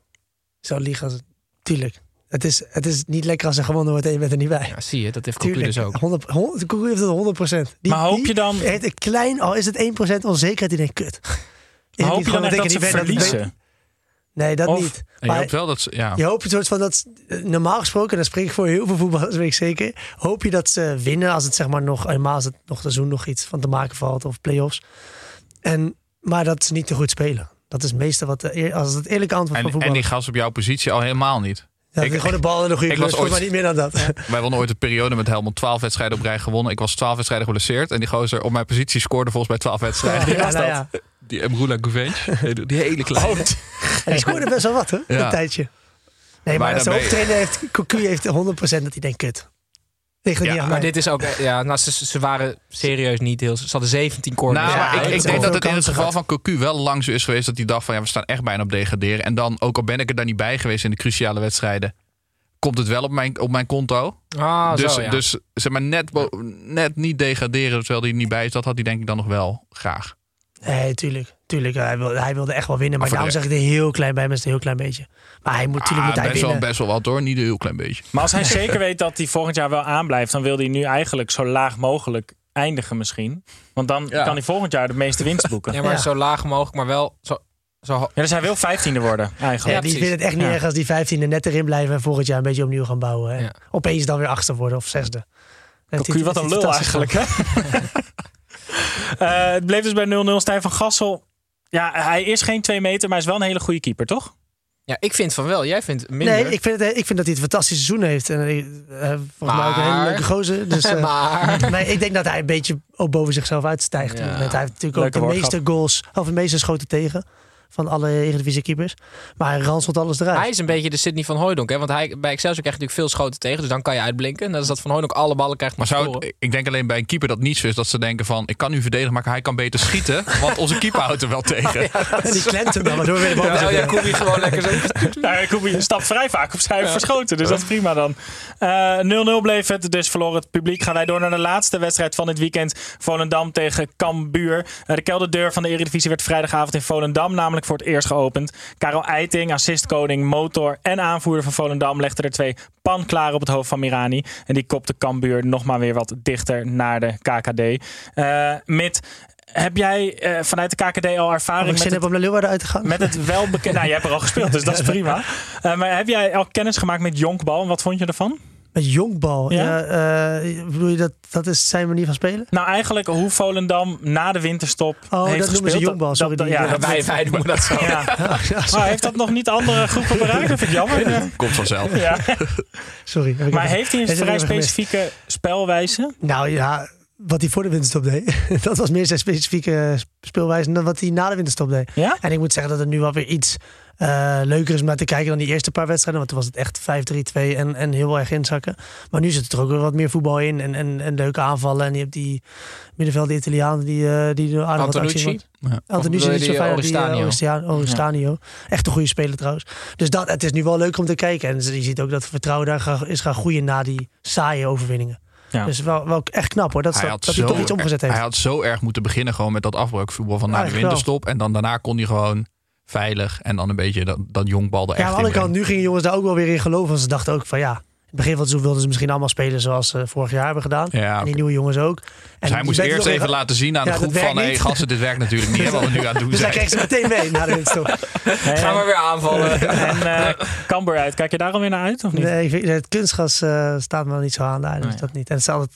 I: Zo liegen als het. Tuurlijk. Het is, het is niet lekker als er gewonnen wordt en je bent er niet bij.
J: Ja, zie je, dat heeft Cocu
I: Tuurlijk.
J: dus ook.
I: 100, 100, Cocu heeft het 100 Die,
D: Maar hoop
I: die
D: je dan-
I: heeft een klein, al is het 1 onzekerheid, die denkt, kut. Ik
D: Maar
I: heb
D: hoop
I: niet
D: je dan
I: gewonnen,
D: echt dat
I: ik heb
D: ze
I: niet weten ik
D: verliezen?
I: ben- Nee, dat
D: Of-
I: niet.
B: En je
I: Maar
B: hoopt wel dat ze... Ja.
I: je hoopt een soort van dat... Normaal gesproken, en dat spreek ik voor heel veel voetballers, weet ik zeker. Hoop je dat ze winnen als het zeg maar nog... Helemaal als het nog seizoen nog iets van te maken valt of play-offs. En, maar dat ze niet te goed spelen. Dat is het meeste wat... de eer- als het eerlijke antwoord van
B: En, en
I: voetbal.
B: die gast op jouw positie al helemaal niet.
I: Ja, gewoon de bal in de goede
B: ik
I: kleur.
B: was
I: schiet, Maar
B: ooit-
I: niet meer dan dat.
B: Wij wonnen ooit een periode met Helmond 12 wedstrijden op rij gewonnen. Ik was 12 wedstrijden geblesseerd. En die gozer op mijn positie scoorde volgens mij 12 wedstrijden.
I: Ja, nou ja.
B: Die Emrula Guvench. Die hele kleine.
I: En die scoorde best wel wat, hè?
B: Ja.
I: Een tijdje. Nee, maar,
B: Maar
I: als de
B: dan ben je-
I: hoofdtrainer heeft... Cocu heeft 100% dat hij denkt, kut. Ligt er
B: Ja,
I: niet aan
J: Maar
I: mij.
J: dit is ook, ja, nou, ze, ze waren serieus niet heel, ze hadden 17 corners.
B: Nou,
J: Ja,
B: maar
I: dat
B: ik, ik
I: is
B: denk dat
I: wel veel
B: het in het
I: kansen
B: geval
I: gehad.
B: van Cocu wel lang zo is geweest dat hij dacht van ja, we staan echt bijna op degraderen. En dan, ook al ben ik er daar niet bij geweest in de cruciale wedstrijden, komt het wel op mijn, op mijn conto.
J: Ah,
B: dus
I: Oh,
J: zo, ja.
B: dus zeg maar net, bo- net niet degraderen terwijl hij er niet bij is, dat had hij denk ik dan nog wel graag.
I: Nee, tuurlijk. Tuurlijk, hij wilde, hij wilde echt wel winnen. Maar
B: Maar voor
I: daarom zeg ik een heel klein bij mensen, een heel klein beetje. Maar hij moet natuurlijk
B: Ah,
I: moet hij
B: best, wel,
I: winnen.
B: best wel wat hoor, niet een heel klein beetje.
D: Maar als hij zeker weet dat hij volgend jaar wel aanblijft, dan wil hij nu eigenlijk zo laag mogelijk eindigen misschien. Want dan
B: Ja.
D: kan hij volgend jaar de meeste winst boeken.
J: ja,
D: Ja,
J: maar
I: Ja.
J: zo laag mogelijk, maar wel zo, zo ho-
D: dus hij wil vijftiende worden
I: Ja,
D: eigenlijk.
I: die
J: precies.
I: vindt het echt niet
D: Ja.
I: erg als die 15e net erin blijven en volgend jaar een beetje opnieuw gaan bouwen. Hè.
J: Ja.
I: Opeens dan weer achter worden of zesde. Dat
D: Cocu,
I: is-
D: wat
I: dat
D: een
I: is
D: lul
I: fantastisch
D: eigenlijk. Hè? Eh, het bleef dus bij 0-0. Stijn van Gassel. Ja, hij is geen 2 meter, maar hij is wel een hele goede keeper, toch?
J: Ja, ik vind van wel. Jij vindt
I: man.
J: minder.
I: Nee, ik vind, het, ik vind dat hij het fantastische seizoen heeft. En eh, eh, volgens mij ook een hele
J: Maar-
I: leuke gozer. Dus, eh,
J: Maar-
I: maar ik denk dat hij een beetje ook boven zichzelf uitstijgt.
J: Ja.
I: Hij heeft natuurlijk
D: Leuke
I: ook de
D: woordgrap.
I: meeste goals, of de meeste schoten tegen. Van alle Eredivisie keepers. Maar hij ranselt alles eruit.
J: Hij is een beetje de Sydney van Hooijdonk. Hè? Want hij, bij Excelsior krijg je natuurlijk veel schoten tegen. Dus dan kan je uitblinken. En dat is dat van Hooijdonk alle ballen krijgt.
B: Maar
J: om te
B: zou,
I: Oh.
J: scoren.
B: het- ik denk alleen bij een keeper dat niet zo is dat ze denken van ik kan nu verdedigen, maar hij kan beter schieten, want onze keeper houdt er wel tegen.
I: En die klemt hem dan, waardoor we weer de bal
J: Terwijl
I: terug-
J: ja, Koebi gewoon lekker zo...
D: Nou, ik hoef je een stap vrij vaak opzij heeft verschoten. Dus dat is prima dan. Eh, 0-0 bleef het, dus verloren het publiek. Gaan wij door naar de laatste wedstrijd van dit weekend. Volendam tegen Cambuur. Eh, de kelderdeur van de Eredivisie werd vrijdagavond in Volendam namelijk voor het eerst geopend. Karel Eiting, assistkoning, motor en aanvoerder van Volendam... legde er twee pan klaar op het hoofd van Mirani. En die kopte Cambuur nog maar weer wat dichter naar de KKD. Eh, Mit, heb jij eh, vanuit de KKD al ervaring
I: ik
D: met
I: zin
D: het-
I: heb om naar Leeuwarden uit te gaan.
D: met het welbekende... nou, jij hebt er al gespeeld, dus dat is prima. Eh, maar heb jij al kennis gemaakt met jonkbal en wat vond je ervan?
I: Met jonkbal.
D: Ja?
I: Ja? eh, bedoel je dat dat is zijn manier van spelen?
D: Nou, eigenlijk hoe Volendam na de winterstop
I: Oh,
D: heeft
I: dat noemen
D: gespeeld.
I: ze jonkbal,
D: Dat-
I: sorry,
D: dat-
I: die-
D: ja,
I: dat-
D: wij, wij noemen dat zo. Ja. Maar heeft dat nog niet andere groepen bereikt? Dat vind ik jammer.
H: Komt vanzelf.
D: Ja.
I: Sorry. heb ik
D: Maar
I: even-
D: heeft hij een
I: heb ik
D: vrij
I: even gemist.
D: specifieke spelwijze?
I: Nou ja, wat hij voor de winterstop deed, dat was meer zijn specifieke speelwijze dan wat hij na de winterstop deed.
D: Ja?
I: En ik moet zeggen dat het nu wel weer iets eh, leuker is om naar te kijken dan die eerste paar wedstrijden. Want toen was het echt 5-3-2 en, en heel erg inzakken. Maar nu zit er ook weer wat meer voetbal in en, en, en leuke aanvallen. En je hebt die middenveld de Italiaan die, eh die
J: Ah,
I: door aardig wat actie
J: Antonucci?
I: maakt.
J: Ja. Of
I: Antonucci
J: bedoel
I: is
J: je
I: zo
J: die,
I: fijn.
J: eh,
I: Oristanio. Die, eh,
J: Oristanio?
I: Oristia- Oristanio. Echt een goede speler trouwens. Dus dat, het is nu wel leuk om te kijken. En je ziet ook dat het vertrouwen daar ga- is gaan groeien na die saaie overwinningen.
H: Ja.
I: Dus wel, wel echt knap hoor. Dat,
H: hij
I: hij
H: had
I: dat hij
H: zo-
I: toch iets omgezet heeft.
H: Hij had zo erg moeten beginnen gewoon met dat afbraakvoetbal van na de
I: Eigenlijk wel.
H: winterstop. En dan daarna kon hij gewoon veilig en dan een beetje dat, dat jongbal er
I: Ja,
H: echt
I: aan de
H: in
I: andere kant,
H: brengen.
I: nu gingen jongens daar ook wel weer in geloven. Want ze dachten ook van ja, in het begin van het seizoen wilden ze misschien allemaal spelen zoals ze vorig jaar hebben gedaan.
H: Ja,
I: En
H: oké.
I: die nieuwe jongens ook.
H: Dus hij
I: die
H: moest
I: werd
H: eerst
I: nog
H: even laten zien aan
I: Ja,
H: de groep
I: dat werkt
H: van... hé
I: niet.
H: gasten, dit werkt natuurlijk niet hè, wat we nu aan het doen
I: Dus daar
H: zijn.
I: kreeg ze meteen mee naar de winststop.
J: Gaan we weer aanvallen.
D: En eh Cambuur uit, kijk je daar alweer naar uit of niet?
I: Nee, ik vind- het kunstgas eh, staat me wel niet zo aan daar. Dus dat niet. En het is altijd,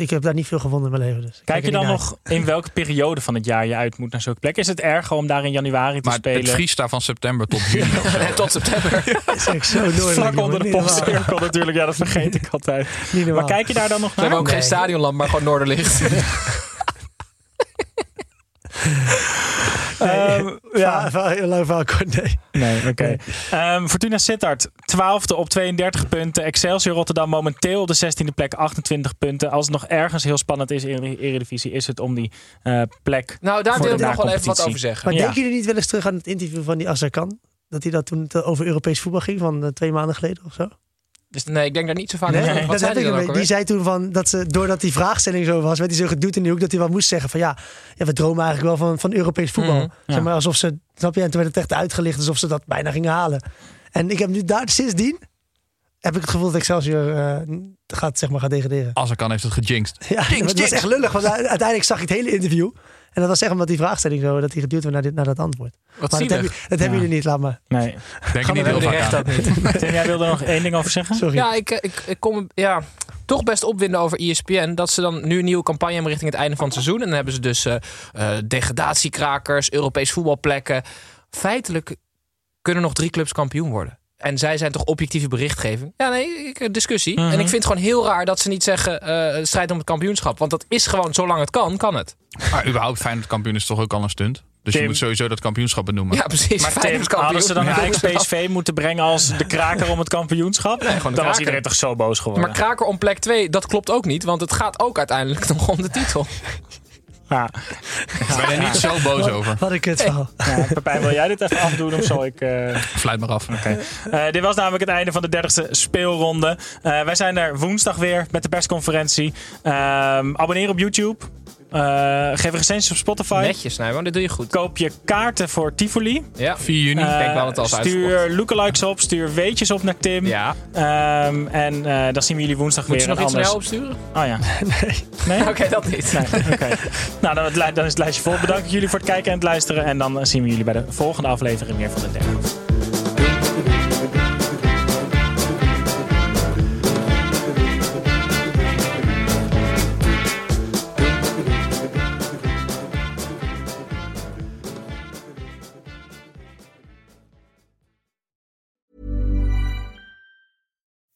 I: ik heb daar niet veel gewonnen in mijn leven. Dus ik
D: Kijk
I: er
D: je
I: niet
D: dan
I: naar
D: nog in welke periode van het jaar je uit moet naar zulke plek? Is het erger om daar in januari te
H: Maar het
D: spelen?
H: vriest daar van september tot juni. of zo.
J: Tot september.
I: uit. Dat is echt zo noordelijk,
D: Vlak
I: jongen.
D: onder de
I: Niet normaal.
D: postcirkel natuurlijk, ja dat vergeet ik altijd.
I: Niet normaal.
D: Maar kijk je daar dan nog
J: Ze
D: naar?
J: hebben ook geen
I: Nee.
J: stadionlamp, maar gewoon Noorderlicht.
D: Ehm, ja.
I: Va- va- heel lang verhaal kort, nee.
D: Nee, oké. Ehm, Fortuna Sittard, 12e op 32 punten. Excelsior Rotterdam momenteel op de 16e plek, 28 punten. Als het nog ergens heel spannend is in de Eredivisie, is het om die eh, plek.
J: Nou, daar
D: Voor
J: wil ik
D: de
J: nog wel even wat
D: na-competitie.
J: over zeggen.
I: Maar
D: Ja.
I: denken jullie niet wel eens terug aan het interview van die Azarkan? Dat hij dat toen te- over Europees voetbal ging van eh, twee maanden geleden of zo?
J: Dus nee, ik denk daar niet zo vaak
I: Nee,
J: over. Wat
I: dat
J: zei
I: had
J: die
I: ik
J: dan
I: een
J: ook
I: beetje. Die
J: alweer?
I: zei toen van dat ze, doordat die vraagstelling zo was, werd hij zo geduwd in de hoek dat hij wat moest zeggen van ja, ja we dromen eigenlijk wel van, van Europees voetbal.
J: Mhm,
D: ja.
I: Zeg maar alsof ze, snap je, en toen werd het echt uitgelicht alsof ze dat bijna gingen halen. En ik heb nu daar sindsdien heb ik het gevoel dat Excelsior eh, gaat, zeg maar, gaat degraderen.
H: Als er kan heeft het
J: Oh,
H: gejinxed.
I: Ja,
H: Jinx,
I: dat was
H: jinx.
I: echt lullig, want u- uiteindelijk zag ik het hele interview. En dat was echt omdat die vraagstelling zo, dat hij geduwd werd naar, dit, naar dat antwoord.
J: Wat
I: maar dat
J: zielig.
I: hebben, dat hebben
D: Ja.
I: jullie niet, laat maar.
D: Nee.
H: Denk er niet heel
J: hebben
H: vaak
J: echt
H: aan.
D: Tim, jij wilde er nog één ding over zeggen?
I: Sorry.
J: Ja, ik, eh, ik, ik kom ja, toch best opwinden over E ESPN. Dat ze dan nu een nieuwe campagne hebben richting het einde van het seizoen. En dan hebben ze dus eh, eh, degradatiekrakers, Europees voetbalplekken. Feitelijk kunnen nog drie clubs kampioen worden. En zij zijn toch objectieve berichtgeving? Ja, nee, ik- eh, discussie.
D: Mhm.
J: En ik vind het gewoon heel raar dat ze niet zeggen... eh strijd om het kampioenschap. Want dat is gewoon, zolang het kan, kan het.
H: Maar überhaupt Feyenoord kampioen is toch ook al een stunt? Dus je
D: Tim.
H: moet sowieso dat kampioenschap benoemen.
J: Ja, precies.
D: Maar
J: Feyenoord
D: Tim,
J: kampioen.
D: hadden ze dan
J: Ja.
D: eigenlijk PSV moeten brengen als de kraker om het kampioenschap?
J: de
D: dan was
J: kraker.
D: iedereen toch zo boos geworden.
J: Maar kraker om plek 2, dat klopt ook niet. Want het gaat ook uiteindelijk nog om de titel.
D: ja.
H: Ik ben er niet zo boos over.
I: Wat een kutverhaal.
D: Ja, Pepijn, wil jij dit even afdoen of zal ik... eh,
H: Fluit maar af.
D: Eh, dit was namelijk het einde van de 30e speelronde. Eh, wij zijn er woensdag weer met de persconferentie. Ehm abonneer op YouTube. Eh, geef een recensie op Spotify.
J: Netjes, Nijman, dit doe je goed.
D: Koop je kaarten voor Tivoli.
J: Ja.
H: 4 juni.
D: Eh,
J: Ik denk wel dat het als
D: stuur lookalikes op, stuur weetjes op naar Tim.
J: Ja.
D: Ehm, en eh, dan zien we jullie woensdag
J: Moet
D: weer.
J: je nog
D: en
J: iets naar jou
D: anders...
J: opsturen?
D: Oh ja. Nee.
J: Oké, dat niet.
D: Nee, oké. nou, dan, het li- dan is het lijstje vol. Bedankt jullie voor het kijken en het luisteren. En dan eh, zien we jullie bij de volgende aflevering weer van de derde.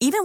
M: Even